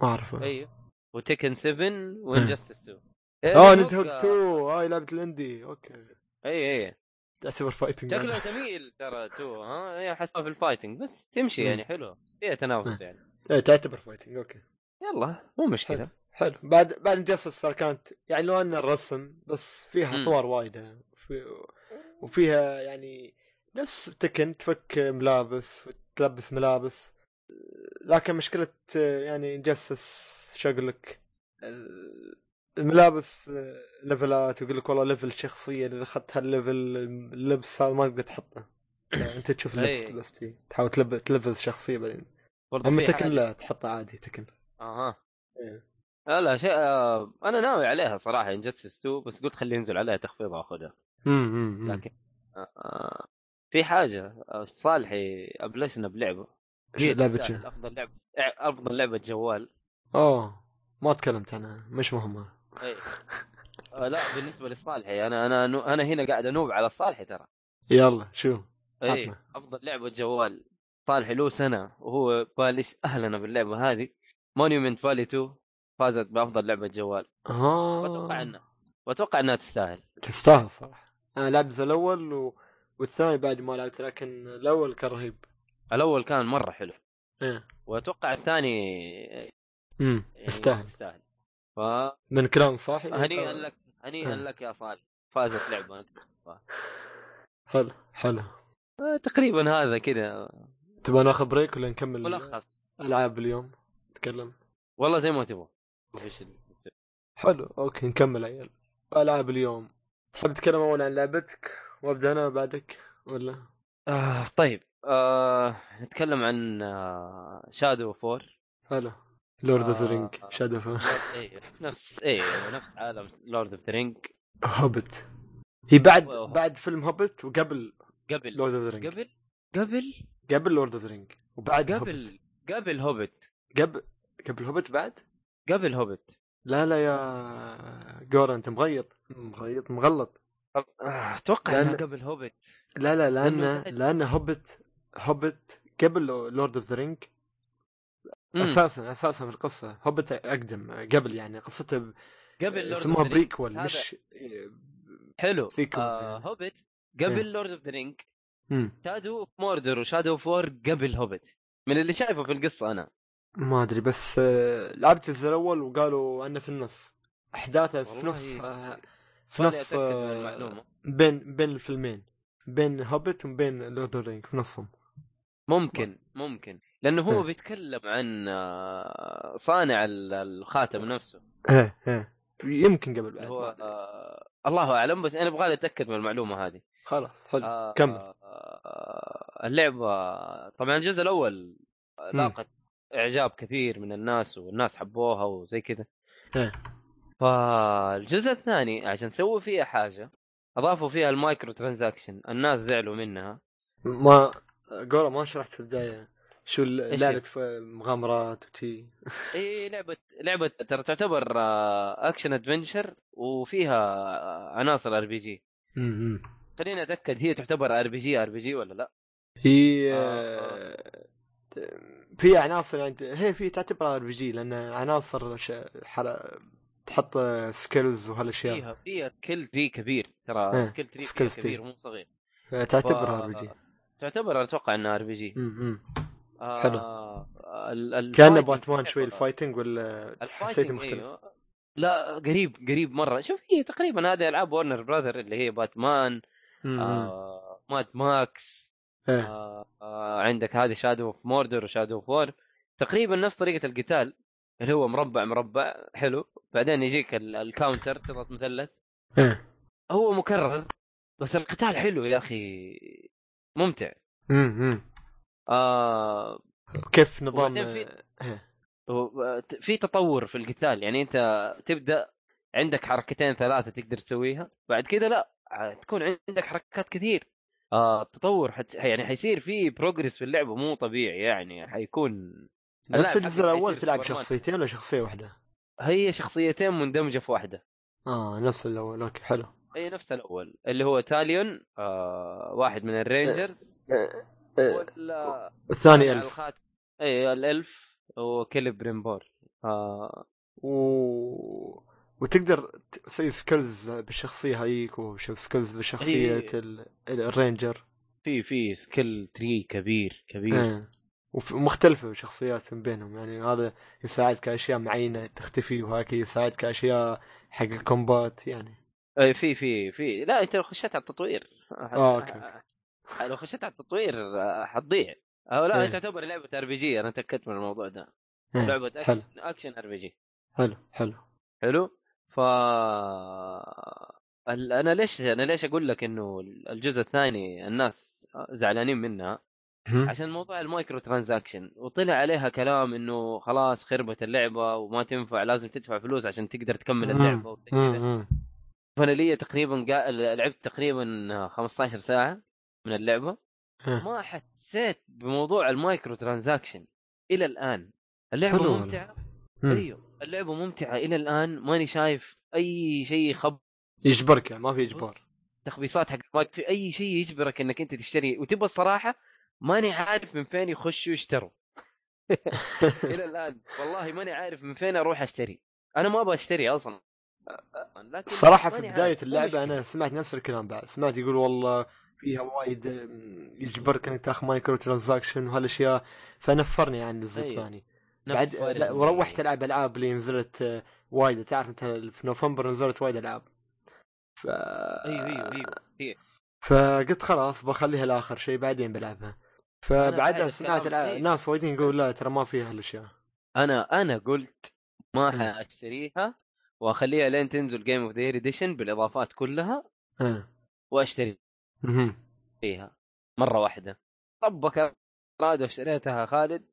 ما اعرفه
ايوه وتكن 7 وانجستس 2
اه نيد
آه،
هوك تو هاي لعبة الاندي اوكي
اي اي
تعتبر يعني. فايتنج
شكله جميل ترى 2 ها هي حسب في الفايتنج بس تمشي
مم.
يعني حلوه فيها تنافس
مم.
يعني
ايه تعتبر فايتنج اوكي
يلا مو مشكله
حلو بعد بعد جاستس ترى كانت يعني لو ان الرسم بس فيها
مم.
اطوار وايده وفي- وفيها يعني نفس تكن تفك ملابس وتلبس ملابس لكن مشكله آه، يعني جاستس شو اقول لك ال- الملابس آه، ليفلات ويقول لك والله ليفل شخصيه اذا اخذت هالليفل اللبس هذا ما تقدر تحطه يعني انت تشوف اللبس
أي.
تلبس فيه تحاول تلب- تلبس شخصيه بعدين
برضه
اما
إيه. في
تكن
حاجة-
لا تحطه عادي تكن
اها
إيه.
لا لا شيء آه، انا ناوي عليها صراحه انجستس 2 بس قلت خلي ينزل عليها تخفيض واخذها
امم
لكن آه، آه، في حاجه آه، صالحي ابلشنا بلعبه هي
لعبة
تستاهل
شو؟
افضل لعبه افضل لعبه إيه، جوال
اوه ما تكلمت انا مش مهمة
أي. إيه. آه، لا بالنسبه لصالحي انا انا نو- انا هنا قاعد انوب على صالحي ترى
يلا شو
اي
عطنا.
افضل لعبه جوال صالحي له سنه وهو بالش اهلنا باللعبه هذه مونيومنت فالي 2 فازت بافضل لعبه جوال واتوقع
اه
انها واتوقع انها تستاهل
تستاهل صراحة انا لعبت الاول و... والثاني بعد ما لعبت لكن الاول كان رهيب
الاول كان مره حلو
ايه
واتوقع الثاني
امم
يعني
يستاهل
يستاهل فهنيئا
من كلام صاحي
لك هنيئا
آه.
لك يا صالح فازت لعبه
حلو حلو
آه، تقريبا هذا كذا
تبغى ناخذ بريك ولا نكمل
ملخص
العاب اليوم نتكلم
والله زي ما تبغى شوف ايش اللي بتصير.
حلو اوكي نكمل عيال العاب اليوم تحب تتكلم اول عن لعبتك وابدا انا بعدك ولا
آه طيب آه نتكلم عن آه شادو 4
حلو لورد اوف ذا رينج
آه.
شادو
إيه، نفس ايه نفس عالم لورد اوف ذا رينج
هوبت هي بعد
واو.
بعد فيلم هوبت وقبل
قبل
لورد اوف ذا رينج
قبل قبل
قبل لورد اوف ذا رينج وبعد هوبت.
قبل قبل هوبت
قبل قبل هوبت بعد؟
قبل هوبت
لا لا يا جورا انت مغيط مغيط مغلط
آه، اتوقع
لأن-
انها قبل هوبت
لا لا لان
لأنه بعد.
لان هوبت هوبت قبل لورد اوف ذا رينج
مم.
اساسا اساسا في القصه هوبت اقدم قبل يعني قصته ب-
قبل لورد
يسموها بريكول
هذا-
مش
حلو
سيكول.
آه هوبت
إيه.
قبل لورد اوف ذا رينج
مم.
شادو اوف موردر وشادو اوف وور قبل هوبت من اللي شايفه في القصه انا
ما ادري بس آه، لعبت الجزء الاول وقالوا انه في النص احداثه في
والله
نص آه، في
ماني
نص
اتاكد من
آه،
المعلومه
بين بين الفيلمين بين هوبت وبين لورد اوف رينج في نصهم
ممكن ممكن لانه هو
م.
بيتكلم عن آه، صانع ال- الخاتم نفسه
ايه ايه يمكن قبل
اللي
بعد ما
هو
أدري.
آه، الله اعلم بس انا ابغى اتاكد من المعلومه هذه
خلاص حلو
آه،
طيب، كمل.
آه، اللعبه طبعا الجزء الاول
إيه.
لاقت اعجاب كثير من الناس والناس حبوها وزي كذا
إيه.
فالجزء الثاني عشان سووا فيها حاجه اضافوا فيها المايكرو ترانزاكشن الناس زعلوا منها
ما جورا ما شرحت في البدايه شو ال-
إيش
لعبه ف- مغامرات وشي
اي لعبه لعبه ترى تعتبر آه، اكشن ادفنشر وفيها آه، عناصر ار بي جي
مم.
خليني اتاكد هي تعتبر ار بي جي ار بي جي ولا لا
هي
آه.
في عناصر يعني هي في تعتبرها ار بي جي لان عناصر ش... حر... تحط سكيلز وهالاشياء
فيها فيها سكيل تري كبير ترى
إيه،
سكيل تري
skill tree.
كبير مو صغير
تعتبرها
ف-
ار بي جي
تعتبر اتوقع انها ار بي جي
حلو. كان
آه، كان
باتمان
آه.
شوي الفايتنج ولا حسيته مختلف
أيوه. لا قريب قريب مره شوف هي تقريبا هذه العاب ورنر براذر اللي هي باتمان
مم.
آه ماد ماكس
إيه.
آه آه عندك هذه شادو اوف موردر وشادو اوف وور تقريبا نفس طريقه القتال اللي هو مربع مربع حلو بعدين يجيك ال- الكاونتر تضغط مثلث
إيه.
هو مكرر بس القتال حلو يا اخي ممتع
مم. مم.
آه
كيف نظام
وبعدين
إيه.
و- آه، في تطور في القتال يعني انت تبدا عندك حركتين ثلاثه تقدر تسويها بعد كذا لا ع- تكون عندك حركات كثير آه التطور حت... يعني حيصير في بروجرس في اللعبه مو طبيعي يعني حيكون
نفس
اللاعب
الجزء
حقك
الاول
حيصير
تلعب
سوبرمان.
شخصيتين ولا شخصيه واحده؟
هي شخصيتين مندمجه في واحده
اه نفس الاول اوكي حلو
هي نفس الاول اللي هو تاليون آه واحد من الرينجرز
إيه.
أه،
إيه.
ولا
الثاني
على
الف
الخاتم إيه، اي الالف وكلب بريمبور آه
و... وتقدر تسوي سكيلز بالشخصيه هيك وشوف سكيلز بشخصيه
هي-
ال... ال- الرينجر
في في سكيل تري كبير كبير
إيه. وف- ومختلفة شخصيات من بينهم يعني هذا يساعدك اشياء معينة تختفي وهاك يساعدك اشياء حق الكومبات يعني
اي آه، في في في لا انت لو خشيت على التطوير
آه، أوكي، أوكي.
لو خشيت على التطوير آه، حتضيع او لا
إيه.
هي تعتبر لعبه ار بي جي انا تاكدت من الموضوع ده
إيه.
لعبه
حلو
اكشن اكشن ار بي جي
حلو حلو
حلو ف ال- انا ليش انا ليش اقول لك انه الجزء الثاني الناس زعلانين منها
هم.
عشان موضوع المايكرو ترانزاكشن وطلع عليها كلام انه خلاص خربت اللعبه وما تنفع لازم تدفع فلوس عشان تقدر تكمل
مم.
اللعبه وزي كذا.
مم. مم.
فانا لي تقريبا قا... لعبت تقريبا 15 ساعه من اللعبه
إيه.
ما حسيت بموضوع المايكرو ترانزاكشن الى الان اللعبه
حلو
حلو
والله.
ممتعه
مم.
ايوه اللعبه ممتعه الى الان ماني شايف اي شيء خب
يجبرك يعني ما في اجبار
بص، تخبيصات حق مايك في اي شيء يجبرك انك انت تشتري وتبى الصراحه ماني عارف من فين يخشوا يشتروا الى الان والله ماني عارف من فين اروح اشتري انا ما ابغى اشتري اصلا لكن
الصراحة في
ماني
بداية
عارف. مو
اللعبة
مشكلة.
أنا سمعت نفس الكلام بعد سمعت يقول والله فيها وايد أم، يجبرك انك تاخذ مايكرو ترانزاكشن وهالاشياء فنفرني عن الجزء
أيوة.
الثاني
نفس
بعد
فارس
لا
من-
وروحت العب العاب اللي نزلت آه، وايد تعرف انت في نوفمبر نزلت وايد العاب ف... أيوه،
ايوه ايوه ايوه هي.
فقلت خلاص بخليها لاخر شيء بعدين بلعبها فبعدها
قاعد
سمعت
أتكلم
الع-
فيه.
ناس وايدين يقول لا ترى ما فيها هالاشياء
انا انا قلت ما
مم.
حاشتريها واخليها لين تنزل جيم اوف ذا اديشن بالاضافات كلها
آه.
واشتريها
مهم.
مره واحده طبك الراد واشتريتها خالد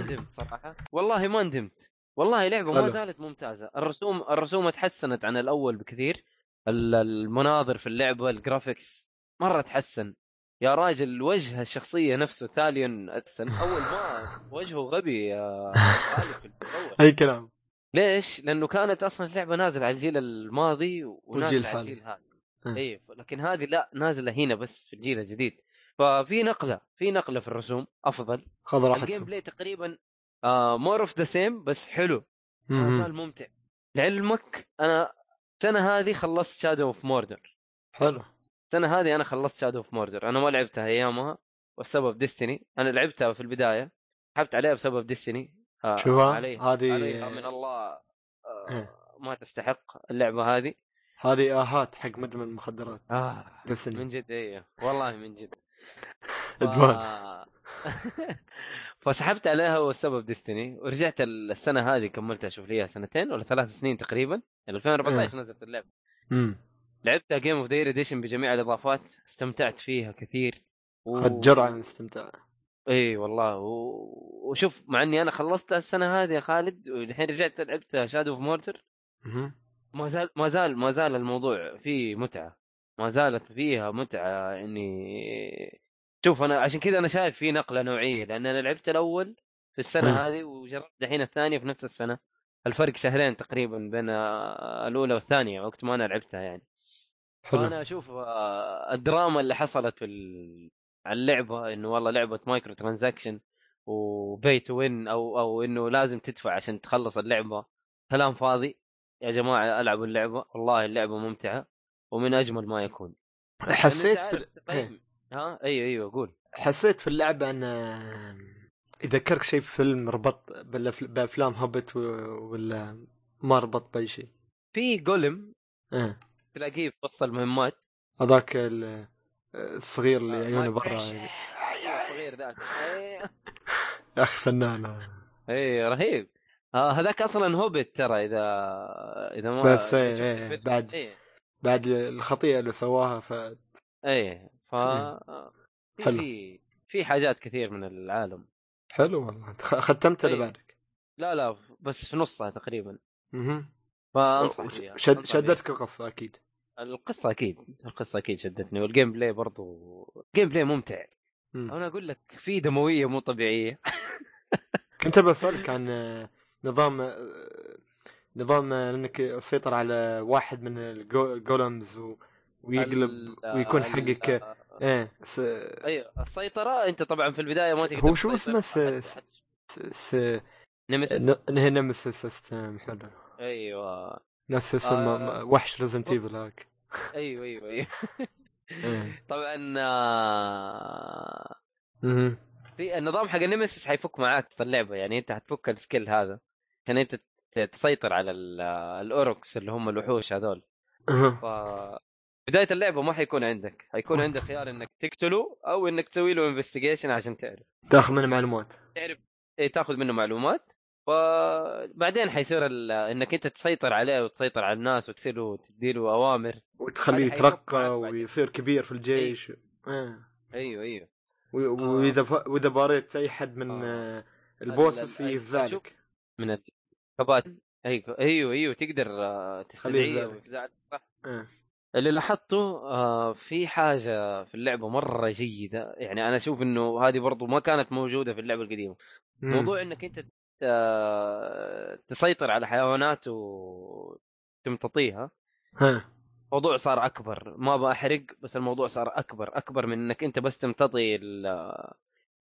ندمت صراحه والله ما ندمت والله لعبه ما
حلو.
زالت ممتازه الرسوم الرسوم تحسنت عن الاول بكثير ال- المناظر في اللعبه الجرافيكس مره تحسن يا راجل وجه الشخصيه نفسه تاليون اتسن اول ما وجهه غبي يا خالد في الاول
اي كلام
ليش؟ لانه كانت اصلا اللعبه نازله على الجيل الماضي
والجيل
ونازله على
الحالي.
الجيل هذا
آه.
اي لكن هذه لا نازله هنا بس في الجيل الجديد ففي نقله في نقله في الرسوم افضل
خذ
الجيم
راحتك
بلاي تقريبا مور اوف ذا سيم بس حلو ما زال ممتع لعلمك انا السنه هذه خلصت شادو اوف موردر
حلو
السنه هذه انا خلصت شادو اوف موردر انا ما لعبتها ايامها والسبب ديستني انا لعبتها في البدايه سحبت عليها بسبب ديستني
شوفها
عليها عليها من
هذه
الله آه،
إيه.
ما تستحق اللعبه هذه
هذه اهات حق مدمن المخدرات
آه
بس
من
إني-
جد ايه والله من جد ف-
ادمان
فسحبت عليها والسبب ديستني ورجعت السنه هذه كملتها شوف لي إياها سنتين ولا ثلاث سنين تقريبا يعني 2014 نزلت اللعبه
مم.
لعبتها جيم اوف ذا اديشن بجميع الاضافات استمتعت فيها كثير و...
خجر عن الاستمتاع
اي والله و... وشوف مع اني انا خلصتها السنه هذه يا خالد والحين رجعت لعبت شادو اوف مورتر
مهم.
ما زال ما زال ما زال الموضوع فيه متعه ما زالت فيها متعه يعني شوف انا عشان كذا انا شايف في نقله نوعيه لان انا لعبت الاول في السنه هذه وجربت دحين الثانيه في نفس السنه الفرق شهرين تقريبا بين آه، الاولى والثانيه وقت ما انا لعبتها يعني
حلو
فانا اشوف آه، الدراما اللي حصلت في ال- على اللعبه انه والله لعبه مايكرو ترانزاكشن وبي تو وين او او انه لازم تدفع عشان تخلص اللعبه كلام فاضي يا جماعه العبوا اللعبه والله اللعبه ممتعه ومن اجمل ما يكون
حسيت في
لأن أنت
ال- إيه.
عارف تقيم- ها ايوه ايوه قول
حسيت في اللعبه ان آه، يذكرك شيء في فيلم ربط بالأف- بافلام هوبت و- ولا ما ربط باي شيء
في جولم
إيه.
تلاقيه في وسط المهمات
هذاك ال- الصغير اللي
آه،
عيونه
ما
برا
تعيش.
يعني.
أيوة، صغير ذاك إيه.
يا اخي فنان
اي إيه، رهيب آه هذاك اصلا هوبت ترى اذا اذا ما
بس
إذا
إيه،
شفت
إيه،
الفيلم.
بعد-
اي
بعد الخطيئه اللي سواها ف
اي إيه، ف في-
إيه، حلو.
في في حاجات كثير من العالم
حلو والله خ- ختمت اللي
طيب.
بعدك
لا لا بس في نصها تقريبا
مهم.
فانصح
وش-
فيها
شد
أنصح
شدتك القصه اكيد
فيها. القصه اكيد القصه اكيد شدتني والجيم بلاي برضو الجيم بلاي ممتع
مم.
انا اقول لك في دمويه مو طبيعيه
كنت بسالك عن آه، نظام آه، نظام آه، انك تسيطر على واحد من الجولمز و... ويقلب
ال-
ويكون
ال-
حقك ايه س...
ايوه السيطره انت طبعا في البدايه ما تقدر
هو شو اسمه؟
تسيطر.
س- س... س...
نمسيس
ن- هي نفس السيستم حلو
ايوه
نفس السيستم
آه.
ما- وحش ريزنت ايفل هاك
ايوه ايوه ايوه
إيه.
طبعا آه،
مهم.
في النظام حق النمسيس حيفك معاك في اللعبه يعني انت حتفك السكيل هذا عشان انت ت- تسيطر على ال- الاوركس اللي هم الوحوش هذول ف
أها.
بدايه اللعبه ما حيكون عندك حيكون عندك خيار انك تقتله او انك تسوي له انفستيجيشن عشان تعرف
تاخذ منه معلومات
تعرف إيه، تاخذ منه معلومات فبعدين حيصير ال- انك انت تسيطر عليه وتسيطر على الناس وتصير له تديله اوامر
وتخليه
هذا حيفك معك
يترقى
بعدين.
ويصير كبير في الجيش إيه.
ايوه ايوه
و-
آه.
واذا ف... واذا باريت اي حد من
آه.
آه.
ال-
البوسس
ال-
يفزعلك
من الكبات ايوه ايوه ايوه تقدر آه، تستدعيه
يفزعلك.
ويفزعك صح
إيه.
اللي لاحظته آه، في حاجه في اللعبه مره جيده يعني انا اشوف انه هذه برضو ما كانت موجوده في اللعبه القديمه
مم.
موضوع انك انت آه، تسيطر على حيوانات وتمتطيها
ها.
الموضوع صار اكبر ما بحرق بس الموضوع صار اكبر اكبر من انك انت بس تمتطي ال-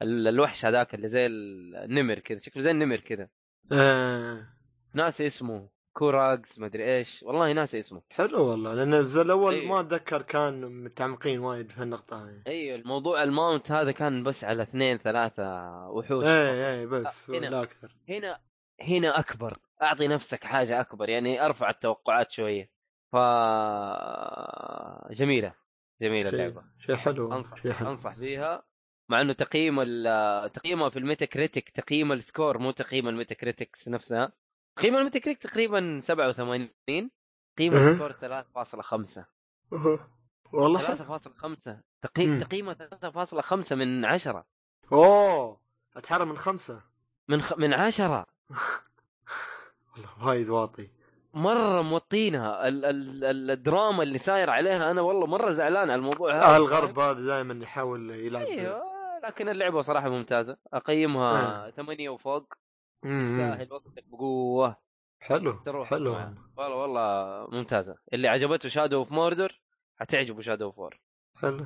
ال- الوحش هذاك اللي زي النمر كذا شكله زي النمر كذا
آه.
ناسي اسمه كوراكس مدري ايش والله ناسي اسمه
حلو والله لان الجزء الاول
إيه.
ما اتذكر كان متعمقين وايد في النقطه هاي
ايوه الموضوع الماونت هذا كان بس على اثنين ثلاثه وحوش
ايه ايه بس
آه، هنا.
لا اكثر
هنا هنا اكبر اعطي نفسك حاجه اكبر يعني ارفع التوقعات شويه ف جميله جميله
شيء-
اللعبه
شيء حلو
انصح
شيء حلو
انصح فيها مع انه تقييم ال- تقييمها في الميتا كريتيك تقييم السكور مو تقييم الميتا كريتكس نفسها تقييم الميتا كريتيك تقريبا 87 تقييم
أها.
السكور 3.5
أوه. والله حلو
3.5
مم.
تقييم تقييمه 3.5 من 10
اوه اتحرى من خمسه
من خ... من 10
والله وايد واطي
مره موطينها ال... ال... ال... الدراما اللي ساير عليها انا والله مره زعلان على الموضوع هذا
اهل الغرب هذا دائما يحاول يلعب
ايوه لكن اللعبه صراحه ممتازه اقيمها 8 وفوق
مم.
تستاهل وقتك بقوه
حلو
تروح
حلو
معها. والله والله ممتازه اللي عجبته شادو اوف موردر حتعجبه شادو اوف وور
حلو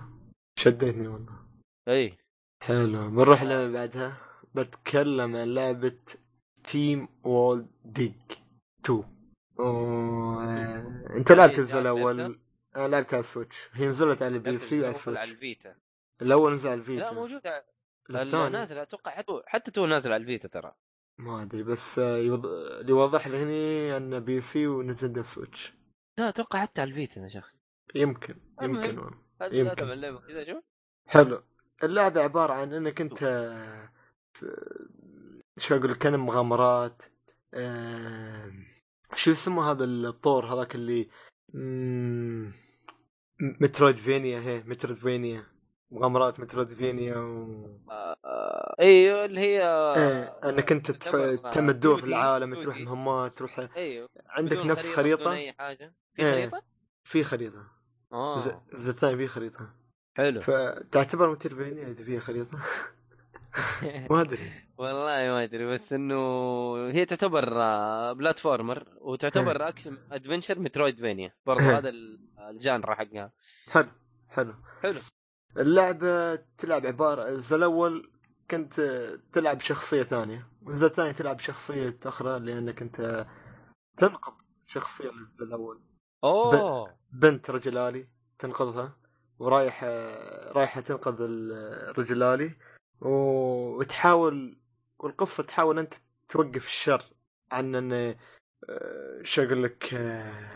شدتني والله
اي
حلو بنروح لما بعدها بتكلم عن لعبة تيم وول ديج 2 و... انت
هذه
لعبت الجزء
جاهزة
الاول
أنت؟
انا لعبت على السويتش هي نزلت على البي سي وعلى
على
السويتش
الفيتا
الاول نزل على
لا
الفيتا
موجود على- لا،
الثاني
نازل اتوقع حتى حتى تو نازل على الفيتا ترى
ما ادري بس آه، يوض... اللي يوضح لي هني ان بي سي ونتندو سويتش
لا اتوقع حتى على الفيتا يا شخص
يمكن
المهم.
يمكن والله.
هذا
يمكن.
لا تبع اللعبه كذا شوف
حلو اللعبة عبارة عن انك انت آه، ف- شو اقول لك كان مغامرات آه، شو اسمه هذا الطور هذاك اللي مم، مترويدفينيا هي مترويدفينيا مغامرات مترويدفينيا و...
آه، ايوه اللي هي
آه، انك انت تح-
تعتبر
تمدوه في
2D
العالم تروح
2D.
مهمات تروح
ايوه
عندك
بدون
نفس
خريطه بدون
خريطة
اي حاجه في
إيه.
خريطه؟
في خريطة
اه
الجزء الثاني في خريطة
حلو
فتعتبر مترفينيا اذا فيها خريطه ما ادري
والله ما ادري بس انه هي تعتبر آه، بلاتفورمر
إيه.
وتعتبر اكشن ادفنشر مترويدفينيا برضو هذا ال- الجانرا حقها
حلو حلو
حلو
اللعبه تلعب عباره الجزء الاول كنت تلعب شخصيه ثانيه والجزء الثاني تلعب شخصيه اخرى لانك انت تنقذ شخصيه من الجزء الاول
اوه
بنت رجل آلي تنقذها ورايح رايحة تنقذ الرجل آلي و- وتحاول والقصة تحاول أنت توقف الشر عن أن آه، شو أقول لك آه،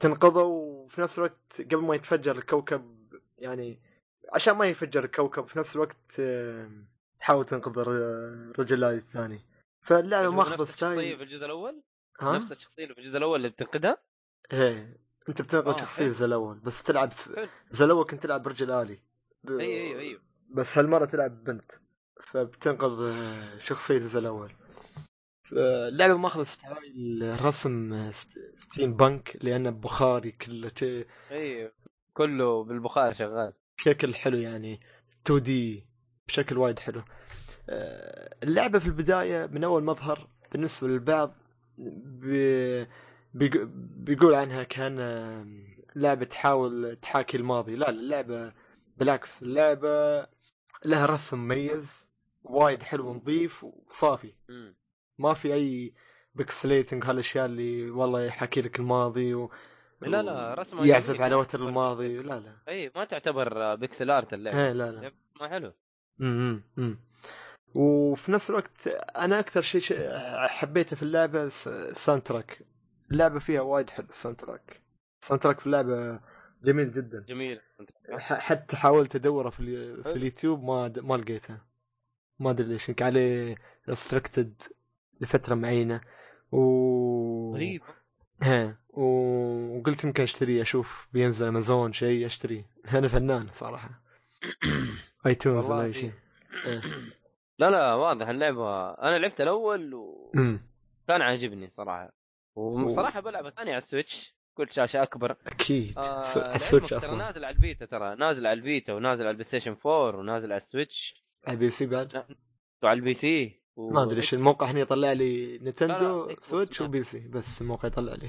تنقذه وفي نفس الوقت قبل ما يتفجر الكوكب يعني عشان ما ينفجر الكوكب في نفس الوقت آه، تحاول تنقذ الر- الرجل آلي الثاني فاللعبة ما
نفس
خلص
الشخصيه في
شايف
الجزء الاول
ها؟
نفس الشخصيه اللي في الجزء الاول اللي بتنقذها
ايه انت بتنقل
آه،
شخصيه
حلو.
زي الاول بس تلعب
حلو.
في... زي الاول كنت تلعب برجل الي ب...
ايوه ايوه ايوه
بس هالمره تلعب بنت فبتنقذ آه، شخصيه زي الاول اللعبه ماخذه ستايل رسم آه، ست- ستيم بنك لانه بخاري كله ت-
ايوه كله بالبخار شغال
بشكل حلو يعني 2 دي بشكل وايد حلو آه، اللعبه في البدايه من اول مظهر بالنسبه للبعض بي- بيق- بيقول عنها كان آه، لعبه تحاول تحاكي الماضي لا اللعبه بالعكس اللعبه لها رسم مميز وايد حلو ونظيف وصافي
مم.
ما في اي بيكسليتنج هالاشياء اللي والله يحكي لك الماضي و...
لا لا رسمه
يعزف
جميل.
على وتر الماضي لا لا
اي إيه، ما تعتبر بيكسل ارت اللعبه
إيه، لا لا
ما حلو
امم أمم. وفي نفس الوقت انا اكثر شيء ش- حبيته في اللعبه س- الساوند تراك اللعبه فيها وايد حلو الساوند تراك الساوند تراك في اللعبه جميل جدا
جميل
ح- حتى حاولت ادوره في, الي... في اليوتيوب ما د... ما لقيته ما ادري ليش يمكن عليه ريستركتد لفتره معينه و
غريب
ها و... وقلت يمكن اشتريه اشوف بينزل امازون شيء اشتريه انا فنان صراحه ايتونز ولا
والله
اي شيء
لا لا واضح اللعبه انا لعبت الاول و...
أمم.
كان عاجبني صراحه وصراحه بلعب الثاني على السويتش كل شاشه اكبر
اكيد
آه
س-
لعلمك
السويتش
ترى
افضل
نازل على البيتا ترى نازل على البيتا ونازل على البلاي ستيشن 4 ونازل على السويتش
بي سي بعد
وعلى البي سي و...
ما ادري ايش الموقع هنا يطلع لي
لا،
نينتندو
لا، Xbox
سويتش
لا.
وبي سي بس الموقع يطلع لي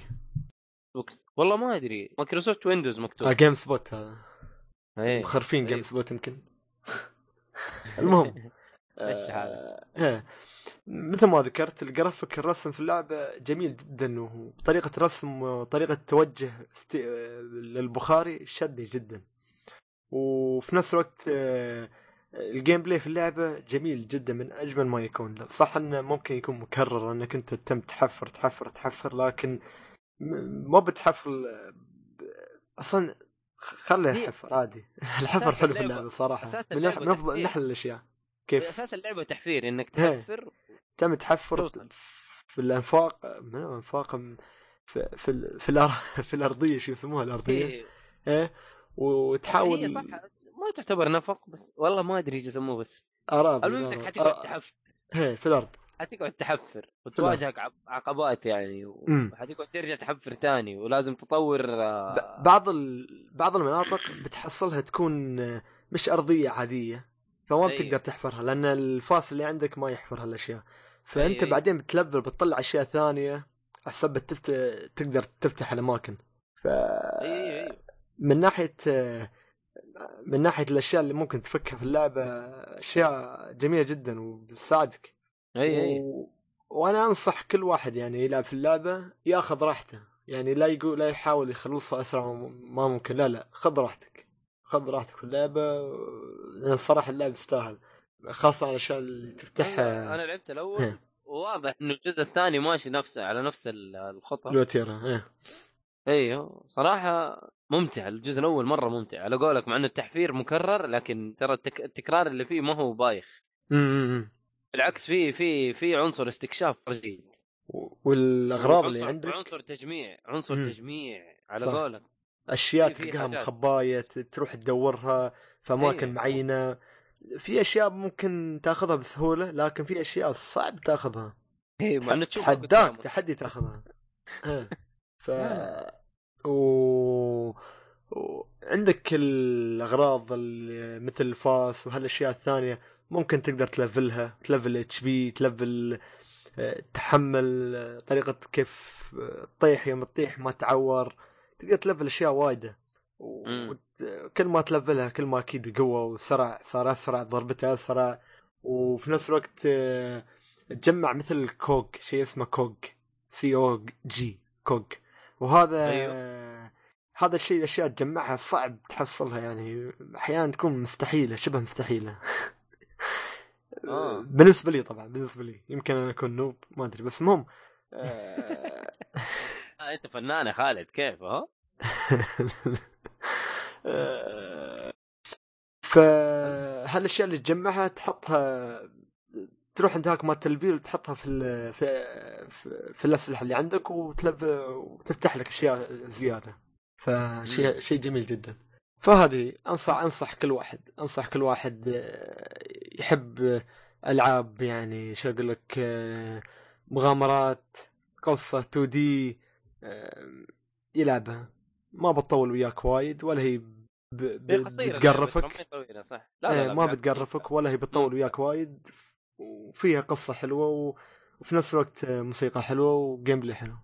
بوكس. والله ما ادري مايكروسوفت ويندوز
آه
مكتوب
جيم سبوت هذا
ايه
مخرفين
طيب.
جيم سبوت يمكن المهم
مشي
آه إيه. مثل ما ذكرت الجرافيك الرسم في اللعبه جميل جدا وطريقه رسم وطريقه توجه است... آه، للبخاري شدني جدا وفي نفس الوقت آه، الجيم بلاي في اللعبه جميل جدا من اجمل ما يكون صح انه ممكن يكون مكرر انك انت تتم تحفر تحفر تحفر لكن م- ما بتحفر ال- ب- اصلا خ- خله
هي-
يحفر عادي الحفر حلو في
اللعبة-
اللعبه صراحه
أساس
من أح-
اللعبة
من أفضل- من
تحفير.
احلى الاشياء كيف
اساس اللعبه تحفير انك
إيه.
تحفر
تم تحفر
توصل.
في الانفاق من هو انفاق م- في في, ال- في, الأر... في الارضيه شو يسموها الارضيه
إيه.
ايه
هي
وتحاول
صح ما تعتبر نفق بس والله ما ادري ايش يسموه بس
اراضي
المهم انك
أراضي.
حتقعد
أ-
تحفر
ايه في الارض
حتقعد تحفر وتواجهك عق- عقبات يعني
مم.
وحتقعد ترجع تحفر تاني ولازم تطور آه،
ب- بعض ال... بعض المناطق بتحصلها تكون آه، مش ارضيه عاديه فما
أيوة.
بتقدر تحفرها لان الفاصل اللي عندك ما يحفر هالاشياء
أيوة،
فانت
أيوة.
بعدين بتلفل بتطلع اشياء ثانيه حسب تفت... تقدر تفتح الاماكن ف
ايوه ايوه
من ناحيه آه، من ناحيه الاشياء اللي ممكن تفكها في اللعبه اشياء جميله جدا وبتساعدك
ايوه ايوه
و... وانا انصح كل واحد يعني يلعب في اللعبه ياخذ راحته يعني لا يقول لا يحاول يخلصها اسرع ما ممكن لا لا خذ راحتك خذ راحتك في اللعبه لان صراحه اللعبه تستاهل خاصه على الاشياء اللي
انا
تفتحها
أيوة، أنا لعبت الاول وواضح انه الجزء الثاني ماشي نفسه على نفس ال- الخطه
الوتيره إيه.
ايوه صراحه ممتع الجزء الاول مره ممتع على قولك مع انه التحفير مكرر لكن ترى التك... التكرار اللي فيه ما هو بايخ
أمم.
بالعكس في في في عنصر استكشاف رهيب
والاغراض اللي
عنصر-
عندك
عنصر تجميع عنصر
مم.
تجميع على
صح.
قولك
اشياء
في- في
تلقاها
حاجات.
مخبايه ت- تروح تدورها في اماكن
إيه.
معينه في اشياء ممكن تاخذها بسهوله لكن في اشياء صعب تاخذها
اي إيه، مع انه تشوفها
تحداك
قدامك.
تحدي تاخذها إيه. ف
لا.
و... وعندك الاغراض اللي مثل الفاس وهالاشياء الثانيه ممكن تقدر تلفلها تلفل اتش بي تلفل آه، تحمل آه، طريقه كيف آه، تطيح يوم تطيح ما تعور تقدر تلفل اشياء وايده و-
مم.
وت- كل ما تلفلها كل ما اكيد قوه وسرع صار اسرع ضربته اسرع وفي نفس الوقت آه، تجمع مثل الكوج شيء اسمه كوج سي او جي كوج وهذا هذا الشيء الاشياء تجمعها صعب تحصلها يعني احيانا تكون مستحيله شبه مستحيله
آه.
بالنسبه لي طبعا بالنسبه لي يمكن انا اكون نوب ما ادري بس المهم آه،
آه، انت فنان يا خالد كيف ها؟
آه، فهالاشياء اللي تجمعها تحطها تروح عند هاك مال التلبيل وتحطها في ال- في في- في الاسلحه اللي عندك وتلب وتفتح لك اشياء زياده فشيء شيء جميل جدا فهذه انصح انصح كل واحد انصح كل واحد آه، يحب العاب يعني شو اقول لك آه، مغامرات قصه 2 دي يلعبها ما بتطول وياك وايد ولا هي ب- ب-
هي قصيرة
بتقرفك
اللعبة، ترى ما هي طويلة، صح لا
لا
لا,
لا
لا
ما
بالعكس.
بتقرفك ولا هي بتطول وياك وايد وفيها قصه حلوه و... وفي نفس الوقت موسيقى حلوه وجيم بلاي حلو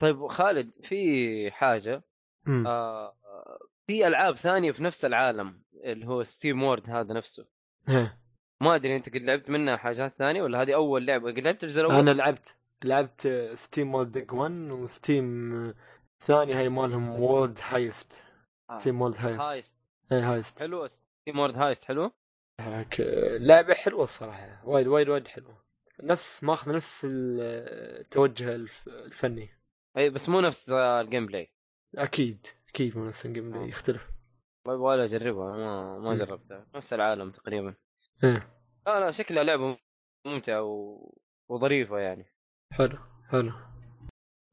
طيب خالد في حاجة
امم
آه آه، في العاب ثانية في نفس العالم اللي هو ستيم وورد هذا نفسه
ها.
ما ادري انت قد لعبت منها حاجات ثانية ولا هذه اول لعبة قد لعبت الجزء الاول؟
انا لعبت لعبت ستيم وولد ديج 1 وستيم ثاني هاي مالهم وولد هايست
آه.
ستيم وولد هايست
هايست
اي هايست
حلو ستيم وورد هايست حلو؟
هاك لعبه حلوه الصراحه وايد وايد وايد حلوه نفس ماخذ نفس التوجه الف- الفني
اي بس مو نفس آه، الجيم بلاي
اكيد اكيد مو نفس الجيم
آه.
بلاي يختلف
والله ابغى اجربها ما ما
مم.
جربتها نفس العالم تقريبا
إيه.
لا لا شكلها لعبة ممتعة و... وظريفة يعني
حلو حلو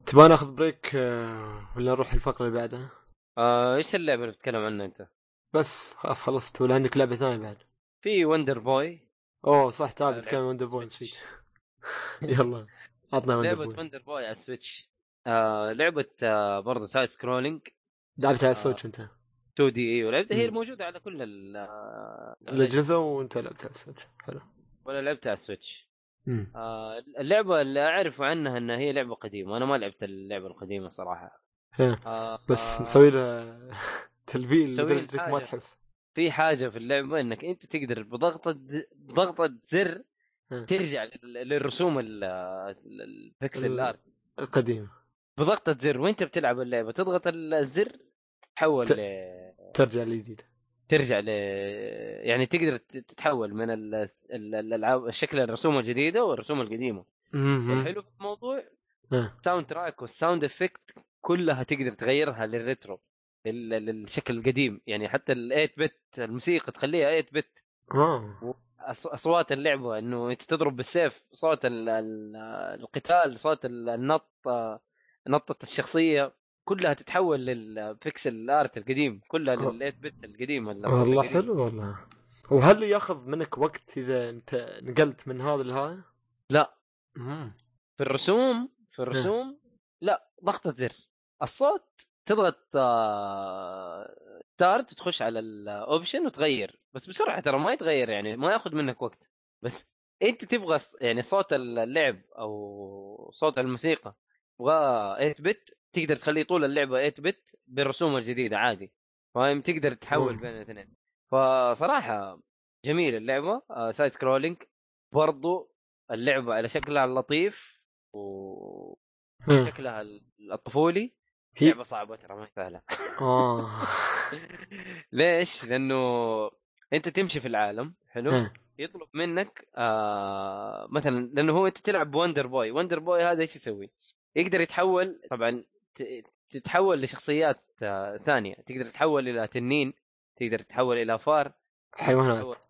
تبغى ناخذ بريك آه، ولا نروح الفقره اللي بعدها
آه، ايش اللعبة اللي بتتكلم عنها انت؟
بس خلاص خلصت ولا عندك لعبه ثانيه بعد
في وندر بوي
اوه صح تعال
لا،
نتكلم وندر بوي نسيت يلا عطنا وندر
لعبة
بوي
وندر بوي على السويتش آه لعبة آه برضه سايد سكرولينج
لعبتها
آه،
على السويتش انت
2 دي اي ولعبتها E، هي
مم.
الموجودة على كل ال آه،
الاجهزه وانت لعبتها على السويتش حلو
ولا لعبتها على السويتش
مم.
آه اللعبة اللي اعرف عنها انها هي لعبة قديمة انا ما لعبت اللعبة القديمة صراحة
إيه.
آه
بس
آه،
مسوي لها تلبيل
مسوي
لدرجه إنك ما
الحاجة.
تحس
في حاجة في اللعبة انك انت تقدر بضغطة بضغطة زر
إيه.
ترجع لل- للرسوم ال- آه، ال- البكسل
ال-
ارت
القديم
بضغطة زر وانت بتلعب اللعبة تضغط الزر تحول
ت-
ل-
ترجع للجديد
ترجع ل يعني تقدر ت- تتحول من ال- ال- الالعاب شكل الرسوم الجديده والرسوم القديمه
مهم.
والحلو في الموضوع
إيه.
الساوند تراك والساوند افكت كلها تقدر تغيرها للريترو لل- للشكل القديم يعني حتى ال 8 بت الموسيقى تخليها 8 بت
اه
أص- اصوات اللعبه انه انت تضرب بالسيف صوت ال... ال... القتال صوت ال- النط نطه الشخصيه كلها تتحول للبيكسل ارت القديم كلها
آه.
لل 8 بت القديمه الصوت
والله
القديم.
حلو والله وهل ياخذ منك وقت اذا انت نقلت من هذا لهذا؟
لا
مم.
في الرسوم في
إيه.
الرسوم لا ضغطة زر الصوت تضغط ستارت وتخش على الاوبشن وتغير بس بسرعة ترى ما يتغير يعني ما ياخذ منك وقت بس انت تبغى ص- يعني صوت اللعب او صوت الموسيقى تبغاه 8 بت تقدر تخليه طول اللعبة 8 بت بالرسوم الجديدة عادي فاهم تقدر تحول
مم.
بين الاثنين فصراحة جميل اللعبة سايد سكرولينج برضو اللعبة على شكلها اللطيف وشكلها
إيه.
الطفولي
هي-
لعبه صعبه ترى ما هي سهله
اه
ليش؟ لانه انت تمشي في العالم حلو؟
إيه.
يطلب منك آه مثلا لانه هو انت تلعب بوندر بوي، وندر بوي هذا ايش يسوي؟ يقدر يتحول طبعا ت- تتحول لشخصيات آه ثانيه، تقدر تتحول الى تنين، تقدر تتحول الى فار،
حيوانات
تتحول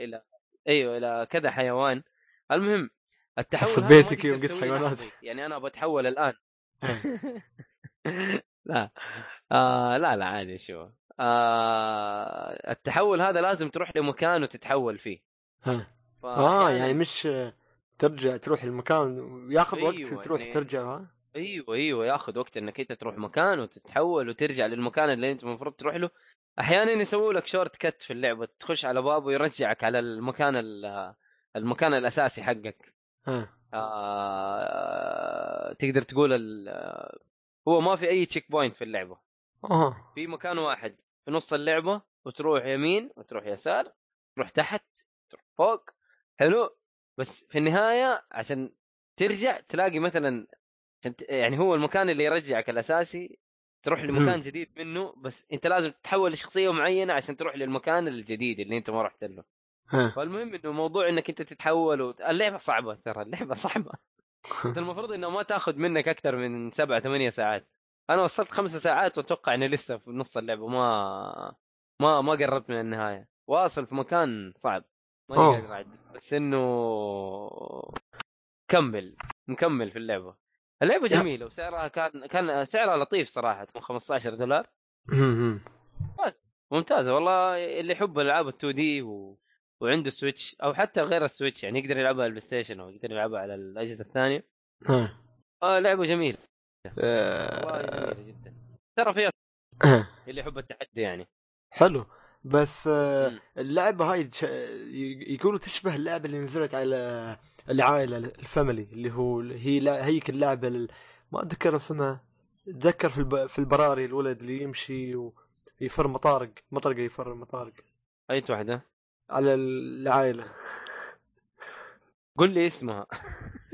الى ايوه الى كذا حيوان. المهم التحول هذا ما
حسبيتك يوم
تقدر
قلت
تسويه
حيوانات.
لحظي، يعني انا بتحول الان
إيه.
لا آه لا لا عادي شو آه التحول هذا لازم تروح لمكان وتتحول فيه
إيه.
فأحيانا-
اه يعني مش ترجع يعني تروح المكان وياخذ وقت
أيوة،
وتروح
يعني-
ترجع ها
ايوه ايوه ياخذ وقت انك انت تروح مكان وتتحول وترجع للمكان اللي انت المفروض تروح له احيانا يسووا لك شورت كت في اللعبه تخش على باب ويرجعك على المكان ال- المكان الاساسي حقك
ها
آه... تقدر تقول ال... هو ما في اي تشيك بوينت في اللعبه
اه
في مكان واحد في نص اللعبه وتروح يمين وتروح يسار تروح تحت تروح فوق حلو بس في النهايه عشان ترجع تلاقي مثلا عشان ت- يعني هو المكان اللي يرجعك الاساسي تروح لمكان
مم.
جديد منه بس انت لازم تتحول لشخصيه معينه عشان تروح للمكان الجديد اللي انت ما رحت له
ها
فالمهم انه موضوع انك انت تتحول و... اللعبه صعبه ترى اللعبه صعبه أنت المفروض انه ما تاخذ منك اكثر من سبع ثمانية ساعات انا وصلت خمسة ساعات واتوقع اني لسه في نص اللعبه ما ما ما قربت من النهايه واصل في مكان صعب ماني
أوه.
قادر اعدي بس انه مكمل مكمل في اللعبه اللعبه جميله وسعرها كان كان سعرها لطيف صراحه 15 دولار
مم.
ممتازه والله اللي يحب العاب ال 2 دي و... وعنده سويتش او حتى غير السويتش يعني يقدر يلعبها على البلاي ستيشن او يقدر يلعبها على الاجهزه الثانيه
ها
آه لعبه جميله والله
آه،
جميله جدا ترى فيها اللي يحب التحدي يعني
حلو بس آه،
مم.
اللعبه هاي تش- ي- يقولوا تشبه اللعبه اللي نزلت على العائله الفاميلي اللي هو هي لا هيك اللعبه ال- ما اتذكر اسمها اتذكر في الب... في البراري الولد اللي يمشي ويفر مطارق مطرقه يفر مطارق
اي واحده
على العائله
قل لي اسمها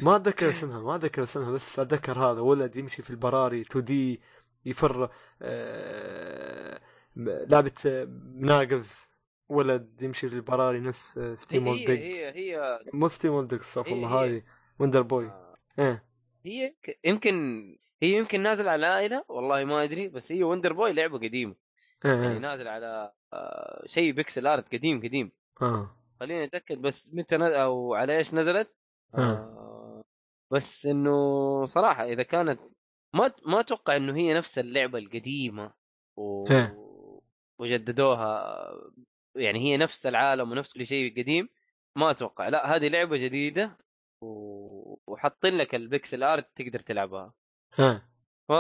ما اتذكر اسمها ما اتذكر اسمها بس اتذكر هذا ولد يمشي في البراري 2 دي يفر آه، م- لعبه آه، مناقز ولد يمشي في البراري نفس آه،
هي
ستيم وولد دق
هي هي
مو ستيم وولد دق استغفر
هي-
الله
هي.
هذه وندر بوي
آه،
ايه
هي ك- يمكن هي يمكن نازله على عائله والله ما ادري بس هي وندر بوي لعبه قديمه يعني
ايه
نازله على آه، شيء بيكسل ارت قديم قديم
اه
خليني اتاكد بس متى نز... او على ايش نزلت آه، بس انه صراحه اذا كانت ما ما اتوقع انه هي نفس اللعبه القديمه و...
إيه.
وجددوها يعني هي نفس العالم ونفس كل شيء قديم ما اتوقع لا هذه لعبه جديده و... وحاطين لك البكسل ارت تقدر تلعبها
اه
ف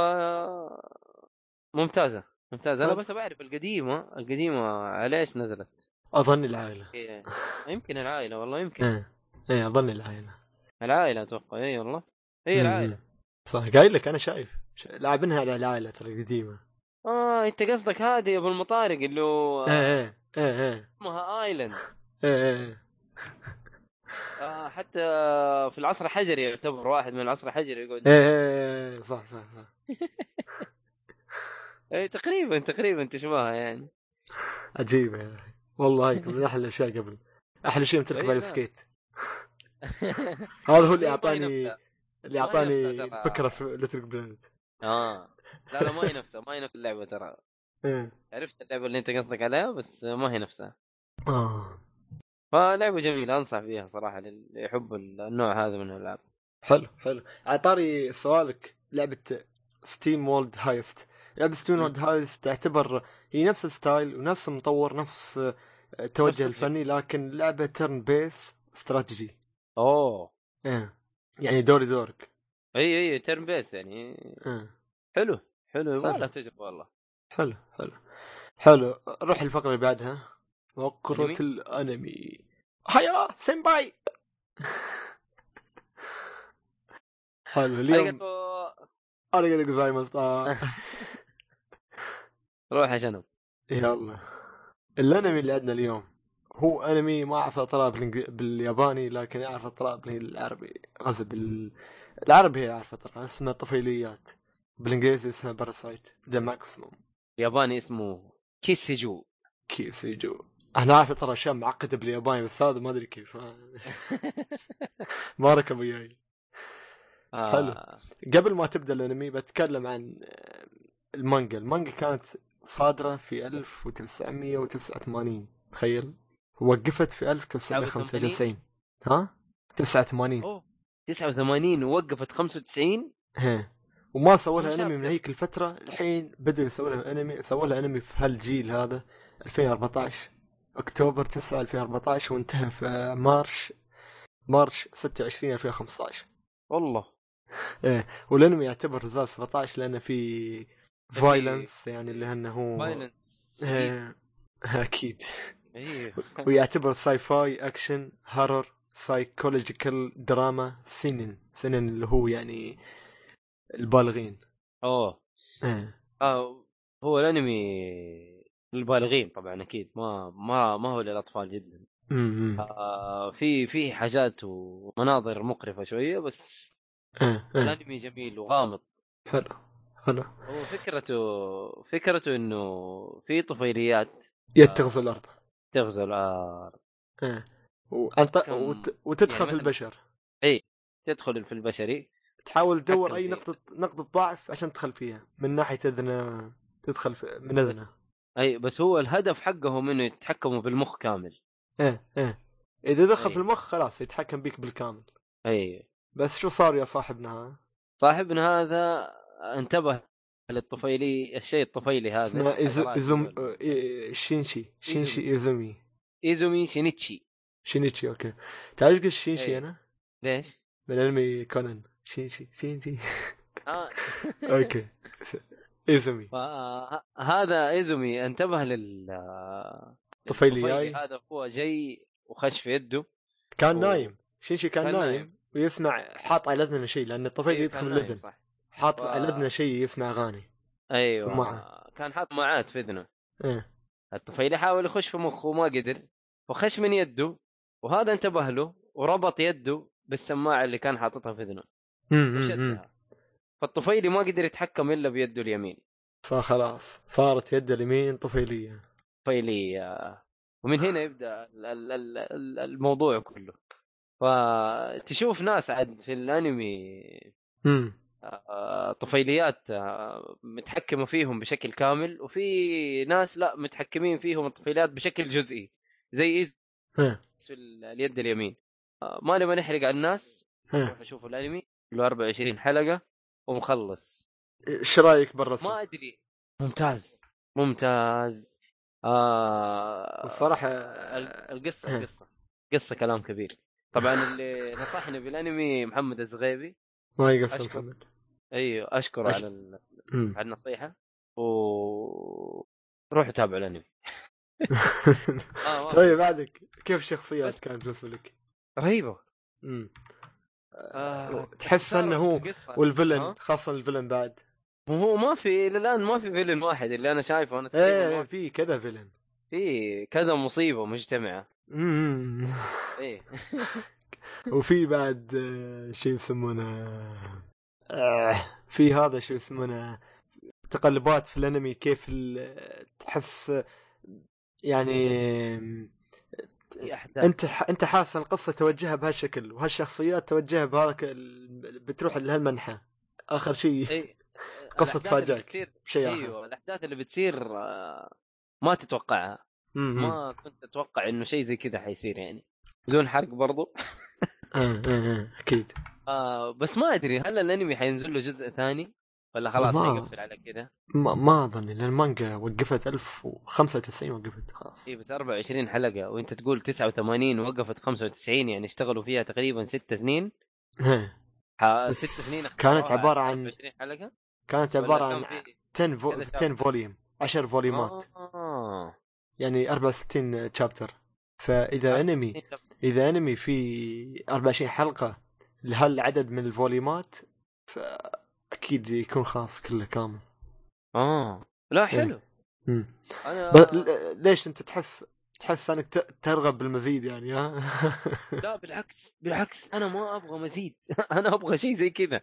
ممتازه ممتازه انا
طب.
بس بعرف القديمه القديمه على ايش نزلت
اظن العائله
إيه. يمكن العائله والله يمكن
ايه ايه اظن العائله
العائله اتوقع اي والله اي
مم.
العائله
صح قايل لك انا شايف ش- لاعبينها على العائله ترى قديمه
اه انت قصدك هذه ابو المطارق اللي هو
ايه ايه ايه ايه
اسمها ايلاند
ايه إيه.
آه حتى في العصر الحجري يعتبر واحد من العصر الحجري يقعد
ايه إيه، إيه. صح صح صح
إيه تقريبا تقريبا تشبهها يعني
عجيبة يا أخي والله هيك من أحلى الأشياء قبل أحلى شيء يوم تركب
طيب.
على السكيت هذا هو
بس
اللي
هي ما هي
أعطاني
نفسها.
اللي
ما هي
أعطاني
نفسها ترى.
فكرة في ليتل بلانت
اه لا لا ما هي نفسها ما هي نفس اللعبه ترى
إيه.
عرفت اللعبه اللي انت قصدك عليها بس ما هي نفسها
آه
فلعبه جميله انصح فيها صراحه للي يحب النوع هذا من الالعاب
حلو حلو عطاري سؤالك لعبة ستيم وولد هايست لعبة ستيم
مم.
وولد هايست تعتبر هي نفس الستايل ونفس المطور نفس آه، التوجه
الفكرة.
الفني لكن لعبة ترن بيس استراتيجي
اوه
إيه. يعني دوري دورك
اي اي تيرن بيس يعني
إيه.
حلو حلو يبغى لها
حلو.
تجربه والله
حلو حلو حلو روح الفقرة اللي بعدها فقرة
أنمي؟
الأنمي هيا سينباي حلو اليوم
أريغاتو.
أنا قاعد أقول زي ما صار.
روح يا شنب
يلا الأنمي اللي عندنا اليوم هو أنمي ما أعرف أطلع بالإنج- بالياباني لكن أعرف أطلع بالعربي قصدي بال... العربي أعرف أطلع اسمه طفيليات بالإنجليزي اسمه باراسايت ذا ماكسيموم
ياباني اسمه كيسيجو
كيس يجو أنا عارف ترى أشياء معقدة بالياباني بس هذا ما أدري كيف ما ركب وياي
آه.
حلو. قبل ما تبدا الانمي بتكلم عن آه، المانجا، المانجا كانت صادره في 1989 تخيل وقفت في 1995 ها؟ 89
اوه 89 ووقفت 95
ها وما سووا لها
أنا شايف
انمي من
كده.
هيك الفتره الحين بدأوا يسووا لها انمي سووا لها انمي في هالجيل هذا 2014 اكتوبر 9 2014 وانتهى في آه، مارش مارش 26 2015
والله
ايه والانمي يعتبر رزاز 17 لانه في فايلنس يعني اللي انه هو
فايلنس
إيه، اكيد
ايه
ويعتبر ساي فاي اكشن هرر سايكولوجيكال دراما سنن سنن اللي هو يعني البالغين
اوه
إيه.
آه هو الانمي للبالغين طبعا اكيد ما ما ما هو للاطفال جدا
أمم.
آه في في حاجات ومناظر مقرفه شويه بس
إيه، إيه.
الانمي جميل وغامض
حلو حلو
هو فكرته فكرته انه في طفيليات آه.
يتغزو الارض
تغزو الارض
إيه. وأنت...
كم-
وت... وتدخل
يعني
في
مثلاً-
البشر
تدخل في البشري
تحاول تدور
تحكم
اي
فيه.
نقطه نقطه ضعف عشان تدخل فيها من ناحيه اذنه تدخل في... من اذنه
اي بس هو الهدف حقهم انه يتحكموا بالمخ كامل
ايه ايه اذا دخل
إيه.
في المخ خلاص يتحكم بيك بالكامل
اي
بس شو صار يا صاحبنا ها؟
صاحبنا هذا انتبه للطفيلي الشيء الطفيلي هذا
اسمه إيزو...
حقرات
إيزوم...
هذول.
إيه، شينشي شينشي
إيزومي.
ايزومي
ايزومي شينيتشي
شينيتشي اوكي تعرف ايش شينشي
إيه.
انا؟
ليش؟
من انمي كونان شينشي شينشي
آه.
اوكي ايزومي
فه- هذا ايزومي انتبه لل
طفيلي
الطفيلي
جاي.
هذا هو جاي وخش في يده
كان
أوه.
نايم شينشي كان,
كان
نايم.
نايم.
ويسمع حاط على اذنه شيء لان الطفيلي
إيه،
يدخل
كان
من
نايم،
الاذن
صح
حاط
ف-
على اذنه شيء يسمع اغاني
ايوه
سماعة.
كان حاط معات في اذنه
ايه
الطفيلي حاول يخش في مخه وما قدر فخش من يده وهذا انتبه له وربط يده بالسماعه اللي كان حاططها في اذنه
أمم، أمم.
وشدها فالطفيلي ما قدر يتحكم الا بيده اليمين
فخلاص صارت يد اليمين طفيليه
طفيلي آه، ومن هنا يبدا ال- ال- ال- ال- الموضوع كله فتشوف ناس عاد في الانمي
امم
آه، طفيليات آه، متحكمه فيهم بشكل كامل وفي ناس لا متحكمين فيهم الطفيليات بشكل جزئي زي إيز
ها
في ال- اليد اليمين آه، ما نبغى نحرق على الناس
ها
روحوا شوفوا الانمي له 24 حلقه ومخلص
ايش رايك بالرسم؟
ما ادري ممتاز ممتاز آه
الصراحه
ال- القصه
ها.
القصه قصه كلام كبير طبعا اللي نصحني بالانمي محمد الزغيبي
ما يقصر
أشكر.
محمد
ايوه اشكره
أش-
على ال-
أمم.
على النصيحه و روحوا تابعوا الانمي آه والله.
طيب بعدك كيف الشخصيات كانت بالنسبه لك؟
رهيبه
أمم.
آه
تحس انه هو
القصة. آه. ها؟
والفيلن خاصه الفيلن بعد
وهو ما في الى الان ما في فيلن واحد اللي انا شايفه انا
ايه
تقريبا ما
في كذا فيلن
في كذا مصيبه مجتمعه
أمم.
ايه
وفي بعد آه، شيء يسمونه آه، في هذا شو يسمونه تقلبات في الانمي كيف ال- تحس يعني
في احداث
انت انت حاسس القصه توجهها بهالشكل وهالشخصيات توجهها بهذاك ال- بتروح لهالمنحى اخر شيء
ايه
قصة
الأحداث اللي
تفاجأك.
بتصير-
شيء اخر
ايوه الاحداث اللي بتصير آه، ما تتوقعها
مم.
ما كنت اتوقع انه شيء زي كذا حيصير يعني بدون حرق برضو
آه، آه، آه، اكيد
آه بس ما ادري هل الانمي حينزل له جزء ثاني ولا خلاص
ما-
حيقفل على كذا
ما, ما اظن لان المانجا وقفت 1095 وقفت خلاص
اي إيه، بس 24 حلقه وانت تقول 89 وقفت 95 يعني اشتغلوا فيها تقريبا ست سنين
إيه.
ح-
بس
آه، ست سنين
كانت
أخذوها
عبارة
على
عن
24 حلقه
كانت
ولا
عباره
كان
عن
في-
10 فو...
كذا شابتر.
10 فوليوم 10 فوليومات
آه.
يعني 64 تشابتر فاذا انمي
إيه،
اذا انمي في 24 حلقه لهالعدد من الفوليومات فاكيد يكون خلاص كله كامل
اه لا حلو
مم.
انا
إيه. ب- ل- ليش انت تحس تحس انك ت- ترغب بالمزيد يعني ها
لا بالعكس بالعكس انا ما ابغى مزيد انا ابغى شيء زي كذا
إيه.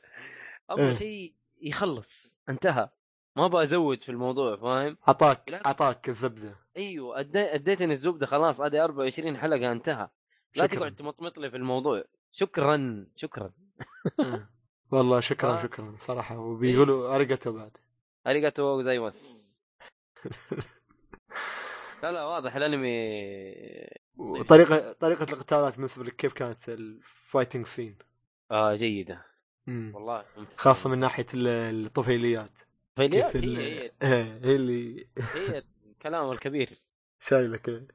ابغى شيء يخلص انتهى ما ابغى ازود في الموضوع فاهم
عطاك
بالعكس.
عطاك الزبده
ايوه أدي... اديتني الزبده خلاص هذه 24 حلقه انتهى لا
شكراً.
تقعد تمطمط لي في الموضوع شكرا شكرا
آه. والله شكرا
آه.
شكرا صراحه وبيقولوا ارقته بعد
اريجاتو زي مس لا لا واضح الانمي إيه.
وطريقه طريقه القتالات بالنسبه لك كيف كانت الفايتنج سين؟
آه جيده
مم.
والله ممتاز.
خاصه من ناحيه ال- الطفيليات
طفيليات
كيف
هي
ال-
هي
إيه، هي اللي
هي الكلام الكبير
شايله كذا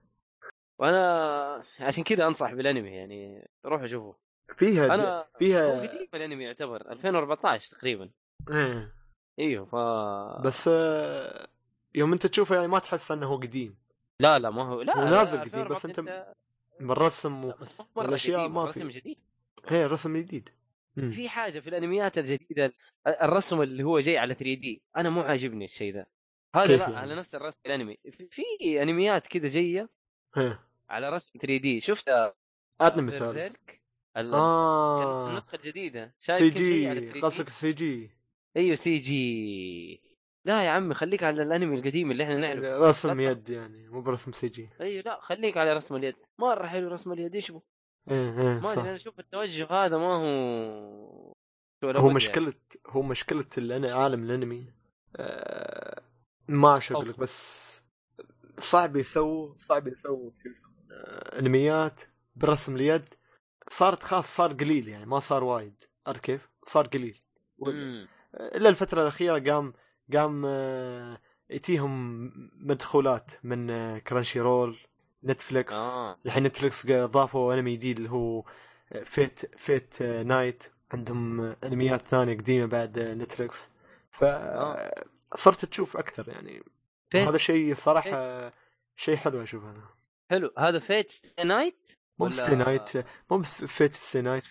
وانا عشان كذا انصح بالانمي يعني روحوا شوفوا
فيها
انا هو
فيها
قديم الانمي يعتبر 2014 تقريبا
إيه.
ايوه ف
بس آه، يوم انت تشوفه يعني ما تحس انه قديم
لا لا ما هو لا
هو
لا،
نازل قديم،
2014
بس أنت- بالرسم و...
لا، بس مو مره
الأشياء
الاشياء
ما
ما
في.
رسم جديد
هي رسم جديد مم.
في حاجه في الانميات الجديده الرسم اللي هو جاي على 3 دي انا مو عاجبني الشيء ذا هذا
كيف
لا
يعني؟
على نفس الرسم الانمي في- في انميات كذا جايه
إيه.
على رسم 3 دي شفت آه،
عطني مثال آه.
برزيرك ال- كان
اه
النسخه الجديده
سي
يعني شايف كيف جاي على 3D؟
جي قصدك سي جي
ايوه سي جي لا يا عمي خليك على الانمي القديم اللي احنا نعرفه
رسم
لا.
يد يعني مو برسم سي جي
ايوه لا خليك على رسم اليد مره حلو رسم اليد ايش بو
ايه ايه
ما
صح
ادري انا اشوف التوجه هذا ما هو شو لابد
هو
يعني.
مشكلة هو مشكلة الأن- عالم الأنمي آه، ما
أو-
شغلك بس صعب يسووا صعب يسووا شو اسمه، آه، أنميات برسم اليد صارت خاص صار قليل يعني ما صار وايد عرفت كيف؟ صار قليل
مم.
إلا الفترة الأخيرة قام قام آه، يتيهم مدخولات من آه، كرانشي رول نتفليكس
اه
الحين نتفلكس ضافوا انمي جديد اللي هو فيت فيت نايت عندهم انميات ثانيه قديمه بعد نتفلكس ف
آه.
صرت تشوف اكثر يعني
فيت
هذا شيء صراحه شيء حلو اشوف انا
حلو هذا فيت ستي نايت
مو
ولا-
بستي نايت مو بس فيت ستي نايت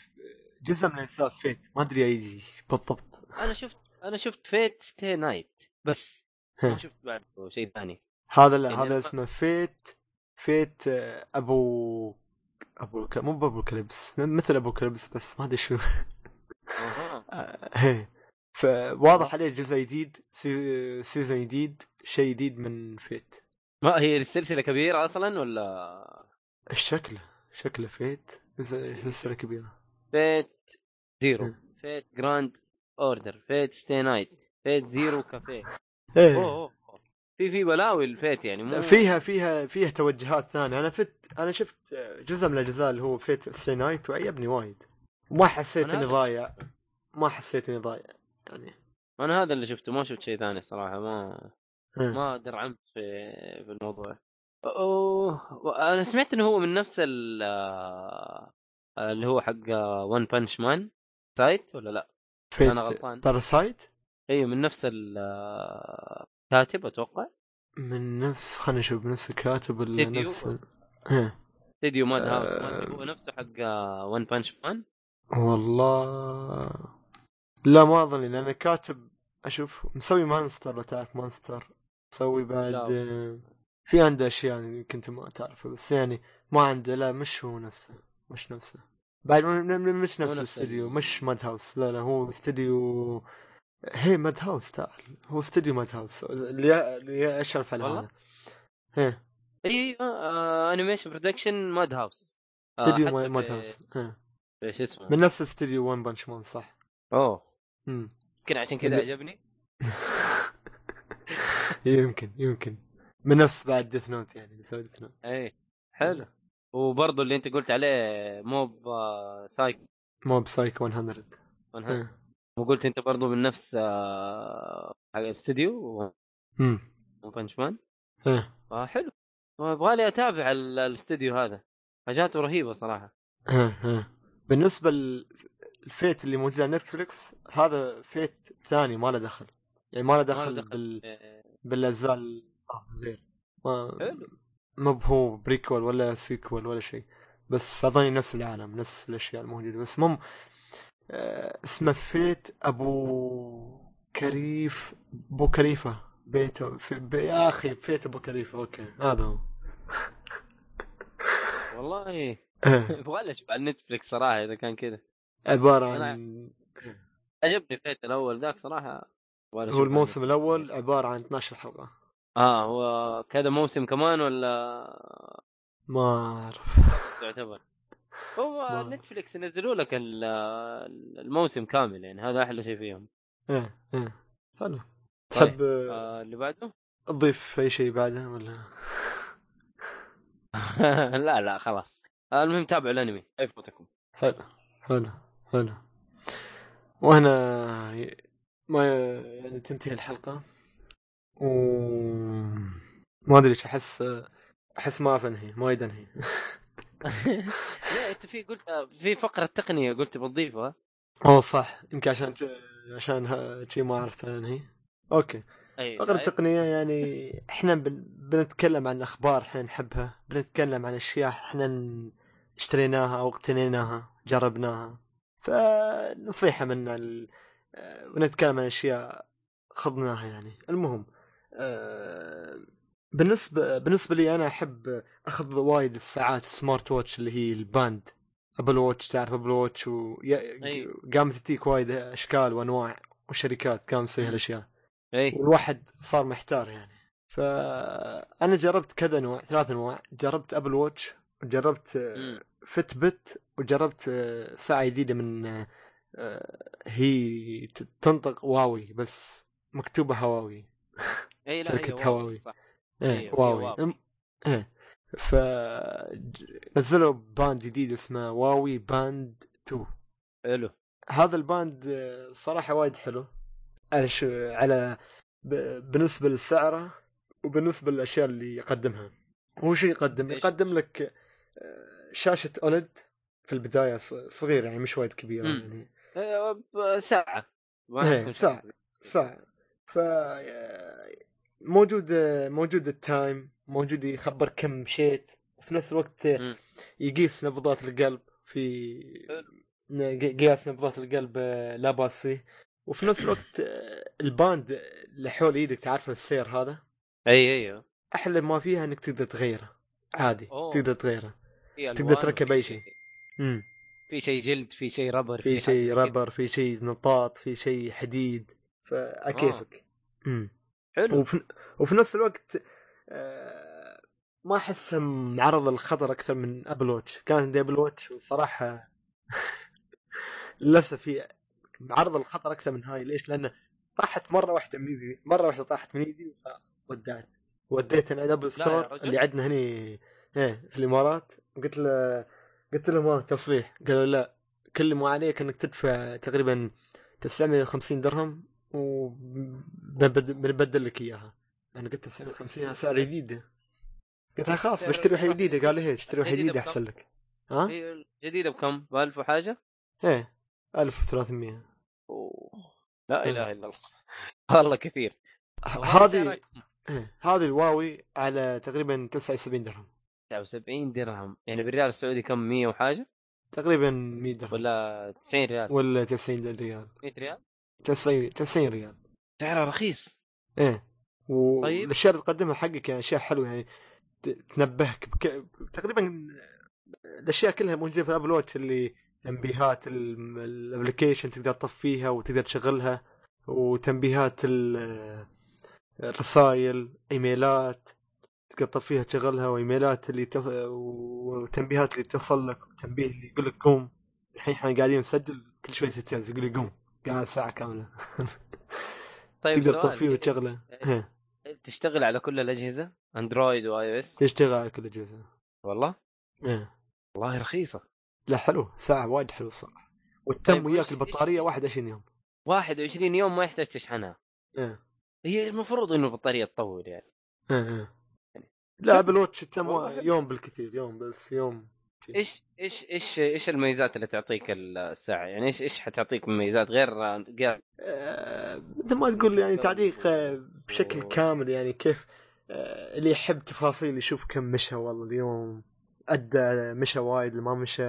جزء من اجزاء فيت ما ادري اي بالضبط
انا شفت انا شفت فيت ستي نايت بس ما
ها.
شفت بعده شيء ثاني
هذا لا
يعني
هذا
أنا-
اسمه فيت فيت آه، ابو ابو ك- مو بابو كلبس مثل ابو كلبس بس ما ادري شو
اها
إيه. فواضح عليه جزء جديد سي- سيزون جديد شيء جديد من فيت
ما هي السلسله كبيره اصلا ولا
الشكل شكله فيت جزء- سلسله كبيره
فيت زيرو
مم.
فيت جراند اوردر فيت ستي نايت فيت زيرو كافيه
إيه.
اوه أوه. في في بلاوي الفيت يعني مو
فيها فيها فيها توجهات ثانيه انا فت انا شفت جزء من الاجزاء اللي هو فيت سي نايت وعجبني وايد ما حسيت
أنا
اني
هذا-
ضايع ما حسيت اني ضايع يعني
انا هذا اللي شفته ما شفت شيء ثاني صراحه ما
إيه.
ما درعمت في في الموضوع اوه انا سمعت انه هو من نفس ال آه، اللي هو حق آه، ون بانش مان سايت ولا لا
فيت
أنا غلطان.
باراسايت
ايوه من نفس ال آه، كاتب اتوقع
من نفس خلينا نشوف من نفس الكاتب ولا
Studio.
نفس إيه.
استديو ماد هاوس
آه.
ما أدري هو نفسه حق آه، ون بانش مان
والله لا ما اظن لان كاتب اشوف مسوي مانستر لو تعرف مانستر مسوي بعد
لا.
آه، في عنده اشياء يعني كنت ما تعرفه بس يعني ما عنده لا مش هو نفسه مش نفسه بعد م- م- م- مش
مو
نفس
نفس
الاستديو
ال-
مش ماد هاوس لا لا هو استديو هي ماد هاوس تعال هو استديو ماد هاوس اللي اللي اشرف على
والله؟
هذا هي
ايوه آه، انيميشن برودكشن ماد هاوس آه،
استديو
حتى
ما-
في- آه.
ماد هاوس هي.
في شو اسمه
من نفس استديو ون بانش مان صح
اوه
مم.
يمكن عشان كذا
اللي-
عجبني
إيه، يمكن يمكن من نفس بعد ديث نوت يعني اللي سوى ديث نوت
اي إيه، حلو وبرضه اللي انت قلت عليه موب آه، سايكو
موب سايك 100 إيه.
وقلت انت برضه من نفس آه، حق الاستديو
امم
ون بانش مان
إيه.
آه، حلو يبغى لي اتابع ال- الاستديو هذا حاجاته رهيبه صراحه
إيه. إيه. بالنسبه للفيت اللي موجود على نتفلكس هذا فيت ثاني ما له دخل يعني ما له دخل,
دخل.
بال...
آه،
بالاجزاء ال- آه، غير ما
حلو
ما هو بريكول ولا سيكول ولا شيء بس اظني نفس العالم نفس الاشياء الموجوده بس مم آه، اسمه فيت ابو كريف بو كريفه بيته في بي يا اخي فيت ابو كريفه اوكي هذا هو
والله
آه،
يبغى لي اشوف على نتفلكس صراحه اذا كان كذا
عباره عن
عجبني فيت الاول ذاك صراحه يبغى لي أشوف
هو
على
الموسم
Netflix.
الاول عباره عن 12 حلقه
اه هو كذا موسم كمان ولا
ما اعرف
تعتبر هو
ما-
نتفلكس ينزلوا لك ال- ال- الموسم كامل يعني هذا احلى شيء فيهم
ايه ايه حلو
طيب.
تحب آه،
آه اللي بعده
تضيف اي شيء بعده ولا
لا لا خلاص آه، المهم تابعوا الانمي لا يفوتكم
حلو حلو حلو وهنا ي- ما يعني تنتهي الحلقة و ما ادري ايش احس احس ما اعرف انهي ما اريد انهي
لا انت في قلت في فقره تقنيه قلت بنضيفها
اوه صح يمكن عشان عشان ها- شي ما عرفت انهي اوكي
اي
فقرة
شايف؟
تقنية يعني احنا بن... بنتكلم عن اخبار احنا نحبها بنتكلم عن اشياء احنا ن- اشتريناها او اقتنيناها جربناها فنصيحة منا ال... آه، ونتكلم عن اشياء خضناها يعني المهم آه، بالنسبة بالنسبة لي انا احب اخذ وايد الساعات السمارت واتش اللي هي الباند ابل واتش تعرف ابل واتش و... ي-
أيوة.
قامت تجيك وايد اشكال وانواع وشركات قامت تسوي
مم.
هالاشياء
اي
والواحد صار محتار يعني فانا جربت كذا نوع ثلاث انواع جربت ابل واتش وجربت آه،
مم.
فت بت وجربت آه، ساعه جديده من آه، آه، هي ت- تنطق واوي بس مكتوبه هواوي
اي لا
شركة
هي واو،
هواوي.
صح
ايه
أيوة، هي
واوي
واوي.
أم- ايه ف ج- نزلوا باند جديد اسمه واوي باند 2
حلو
هذا الباند آه، صراحة وايد حلو على شو على ب- بالنسبة لسعره وبالنسبة للأشياء اللي يقدمها هو شو يقدم؟
إيش؟
يقدم لك آه، شاشة أولد في البداية ص- صغيرة يعني مش وايد كبيرة
مم.
يعني
إيه، ب- ساعه ما
إيه،
تكون
ساعة. صح ف آه، موجود آه، موجود التايم موجود يخبر كم مشيت في نفس الوقت
مم.
يقيس نبضات القلب في ن- قياس نبضات القلب آه، لا باس فيه وفي نفس الوقت آه، الباند اللي حول ايدك تعرفه السير هذا
اي اي
احلى ما فيها انك تقدر تغيره عادي
أوه.
تقدر تغيره
في
تقدر
ألوان
تركب
وفي
أي شيء. امم
في شيء جلد في شيء ربر
في
حاجة زي
شيء
كده.
ربر في شيء نطاط في شيء حديد فاكيفك
آه.
امم
حلو
وفي, وفي نفس الوقت آه، ما احس معرض الخطر اكثر من ابل واتش كان عندي ابل واتش والصراحه للاسف هي معرض الخطر اكثر من هاي ليش؟ لان طاحت مره واحده من ايدي مره واحده طاحت من ايدي وخلاص ودعت وديت عند ابل
لا يا
ستور
رجل.
اللي عندنا هنا ايه في الامارات قلت له قلت لهم ها تصريح قالوا لا كل ما عليك انك تدفع تقريبا 950 درهم وبنبدل لك اياها انا قلت 950 سعر جديده قلت لها خلاص بشتري واحده جديده قال لي هي اشتري واحده
جديدة
جديده احسن لك ها؟
هي جديده بكم؟ ب 1000 وحاجه؟
ايه 1300
أوه. لا
إيه.
اله الا الله والله كثير
هذه إيه، هذه الواوي على تقريبا 79 درهم
79 درهم يعني بالريال السعودي كم 100 وحاجه
تقريبا 100 درهم
ولا 90 ريال
ولا 90 ريال
100 ريال
90 90 ريال
سعرها رخيص
ايه
طيب.
والاشياء اللي تقدمها حقك يعني اشياء حلوه يعني ت- تنبهك بك... تقريبا الاشياء كلها موجوده في الابل واتش اللي تنبيهات ال- الابلكيشن تقدر تطفيها وتقدر تشغلها وتنبيهات ال- الرسائل ايميلات تقدر تطفيها تشغلها وايميلات اللي تص... وتنبيهات اللي تصل لك وتنبيه اللي يقول لك قوم الحين احنا قاعدين نسجل كل شوي تتجاز يقول لي قوم قاعد ساعه كامله
طيب
تقدر
سؤال،
تطفيه
هي
وتشغله إيه.
تشتغل على كل الاجهزه اندرويد واي او اس
تشتغل على كل الاجهزه
والله
إيه.
والله رخيصه
لا حلو ساعه وايد حلو الصراحه
طيب
والتم
وش-
وياك البطاريه
إيش-
21 يوم
21 يوم ما يحتاج تشحنها
إيه.
هي المفروض انه البطاريه تطول يعني
إيه، إيه. لا ابل واتش التم
طيب، والله حلو.
يوم بالكثير يوم بس يوم
ايش ايش ايش ايش الميزات اللي تعطيك الساعه يعني ايش ايش حتعطيك من ميزات غير غير
آه، مثل ما تقول يعني تعليق آه، بشكل كامل يعني كيف آه، اللي يحب تفاصيل يشوف كم مشى والله اليوم ادى مشى وايد اللي ما مشى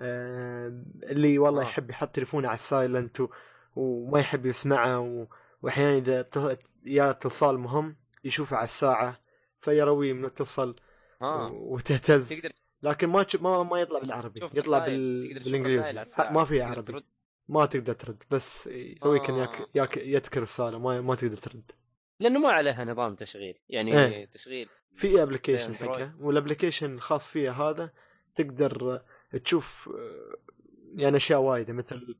آه، اللي والله
آه.
يحب يحط تليفونه على السايلنت و- وما يحب يسمعه و- واحيانا اذا ت- يا اتصال مهم يشوفه على الساعه فيرويه من اتصال و-
اه
وتهتز
تقدر
لكن ما تشوف ما, ما يطلع بالعربي
تشوف
يطلع
رسائل،
بال...
تقدر تشوف رسائل
بالانجليزي
على الساعة.
ما في
تقدر
عربي
ترد.
ما تقدر ترد بس يسويك
آه.
انك ياك يتك رساله ما ما تقدر ترد
لانه ما عليها نظام تشغيل يعني
إيه.
تشغيل
في ابلكيشن
إيه، أندرويد.
حقها والابلكيشن الخاص فيها هذا تقدر تشوف آه، يعني اشياء وايده مثل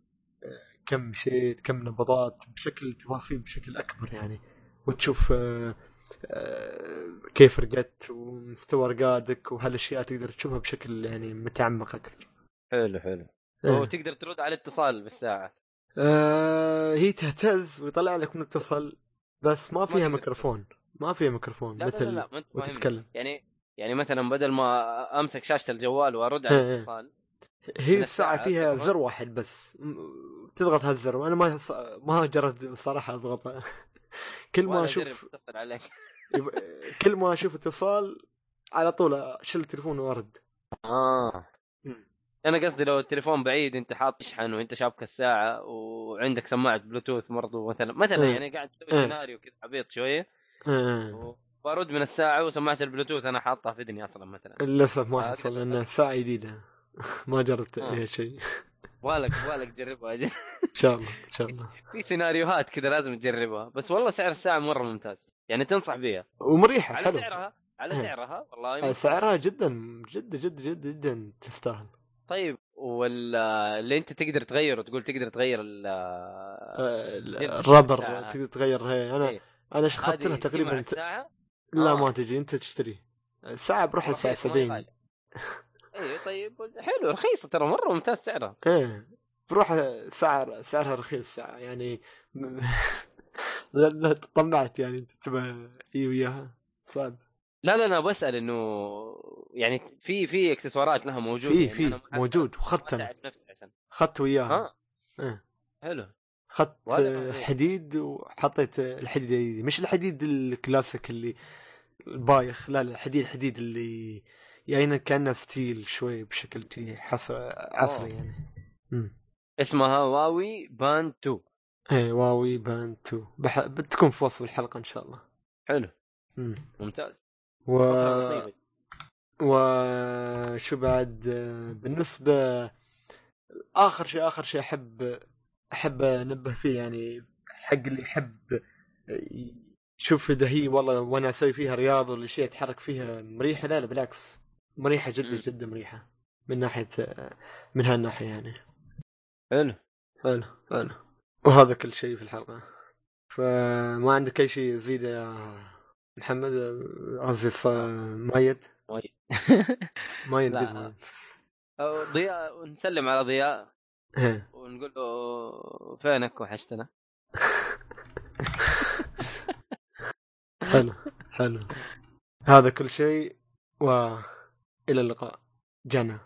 آه، كم مشيت كم نبضات بشكل تفاصيل بشكل اكبر يعني وتشوف آه، آه، كيف رقدت ومستوى رقادك وهالاشياء تقدر تشوفها بشكل يعني متعمق اكثر
حلو حلو
إيه.
وتقدر ترد على اتصال بالساعه
آه هي تهتز ويطلع لك متصل بس ما فيها
تقدر.
ميكروفون ما فيها ميكروفون
لا
مثل
لا لا, لا ما انت فاهمني.
وتتكلم
يعني يعني مثلا بدل ما امسك شاشه الجوال وارد
إيه،
على الاتصال
هي الساعة
من الساعة
فيها
تضغط.
زر واحد بس م- تضغط هالزر وانا ما ص- ما جربت الصراحة اضغطه كل
وأنا
ما اشوف
أجرب اتصل عليك
يب- كل ما اشوف اتصال على طول اشيل التليفون وارد
اه
مم.
انا قصدي لو التليفون بعيد انت حاط تشحن وانت شابك الساعه وعندك سماعه بلوتوث برضو مثلا مثلا
إيه.
يعني قاعد
إيه.
تسوي سيناريو كذا عبيط شويه
آه.
وبرد من الساعه وسماعه البلوتوث انا حاطها في اذني اصلا مثلا
للاسف ما
آه،
حصل
كذا.
لان الساعة جديدة ما جربت
آه.
عليها شيء
بالك بالك تجربها أجل.
ان شاء الله ان شاء الله
في سيناريوهات كذا لازم تجربها بس والله سعر الساعه مره ممتاز يعني تنصح بيها
ومريحة
على
حلو
سعرها على
إيه.
سعرها والله
آه،
ممتاز.
سعرها جدا جدا جدا جدا جدا تستاهل
طيب ولا اللي انت تقدر تغيره تقول تقدر تغير ال
آه، ال-
جد.
الرابر
آه.
تقدر تغير هي انا
إيه.
انا اخذت لها
هذه تجي مع
تقريبا
الساعه
لا
آه.
ما تجي انت تشتري الساعة بروح الساعة
رخيص، ما هي
70
غالية. اي طيب حلو رخيصه ترى مره ممتاز سعرها
ايه بروح سعر سعرها رخيص ساعة يعني م- لا, لا تطمعت يعني انت تبى اي وياها صعب
لا لا انا بسال انه يعني في في اكسسوارات لها موجوده
في-
يعني
في،
أنا ما-
موجود،
ما آه.
وخدت أنا.
أتعب نفسي عشان
اخذت وياها
ها
إيه.
حلو
اخذت
وهذا ما في.
حديد وحطيت الحديد الجديد مش الحديد الكلاسيك اللي البايخ لا لا الحديد الحديد اللي يعني كانه ستيل شوي بشكل شي حص- عصري يعني مم.
اسمها واوي بان 2
ايه واوي بانتو بح... بتكون في وصف الحلقة ان شاء الله
حلو
مم.
ممتاز
و...
فترة لطيفة.
وشو بعد بالنسبة آخر شيء آخر شيء أحب أحب أنبه فيه يعني حق اللي يحب يشوف إذا هي والله وأنا أسوي فيها رياضة ولا شيء أتحرك فيها مريحة لا لا بالعكس مريحة جدا
مم.
جدا مريحة من ناحية من هالناحية يعني
حلو
حلو حلو وهذا كل شيء في الحلقة فما عندك أي شيء يزيد يا محمد قصدي ص- مايد
مايد.
مايد
لا.
بيزمان.
أو ضياء نسلم على ضياء
إيه.
ونقول له فينك وحشتنا
حلو حلو هذا كل شيء والى اللقاء جنى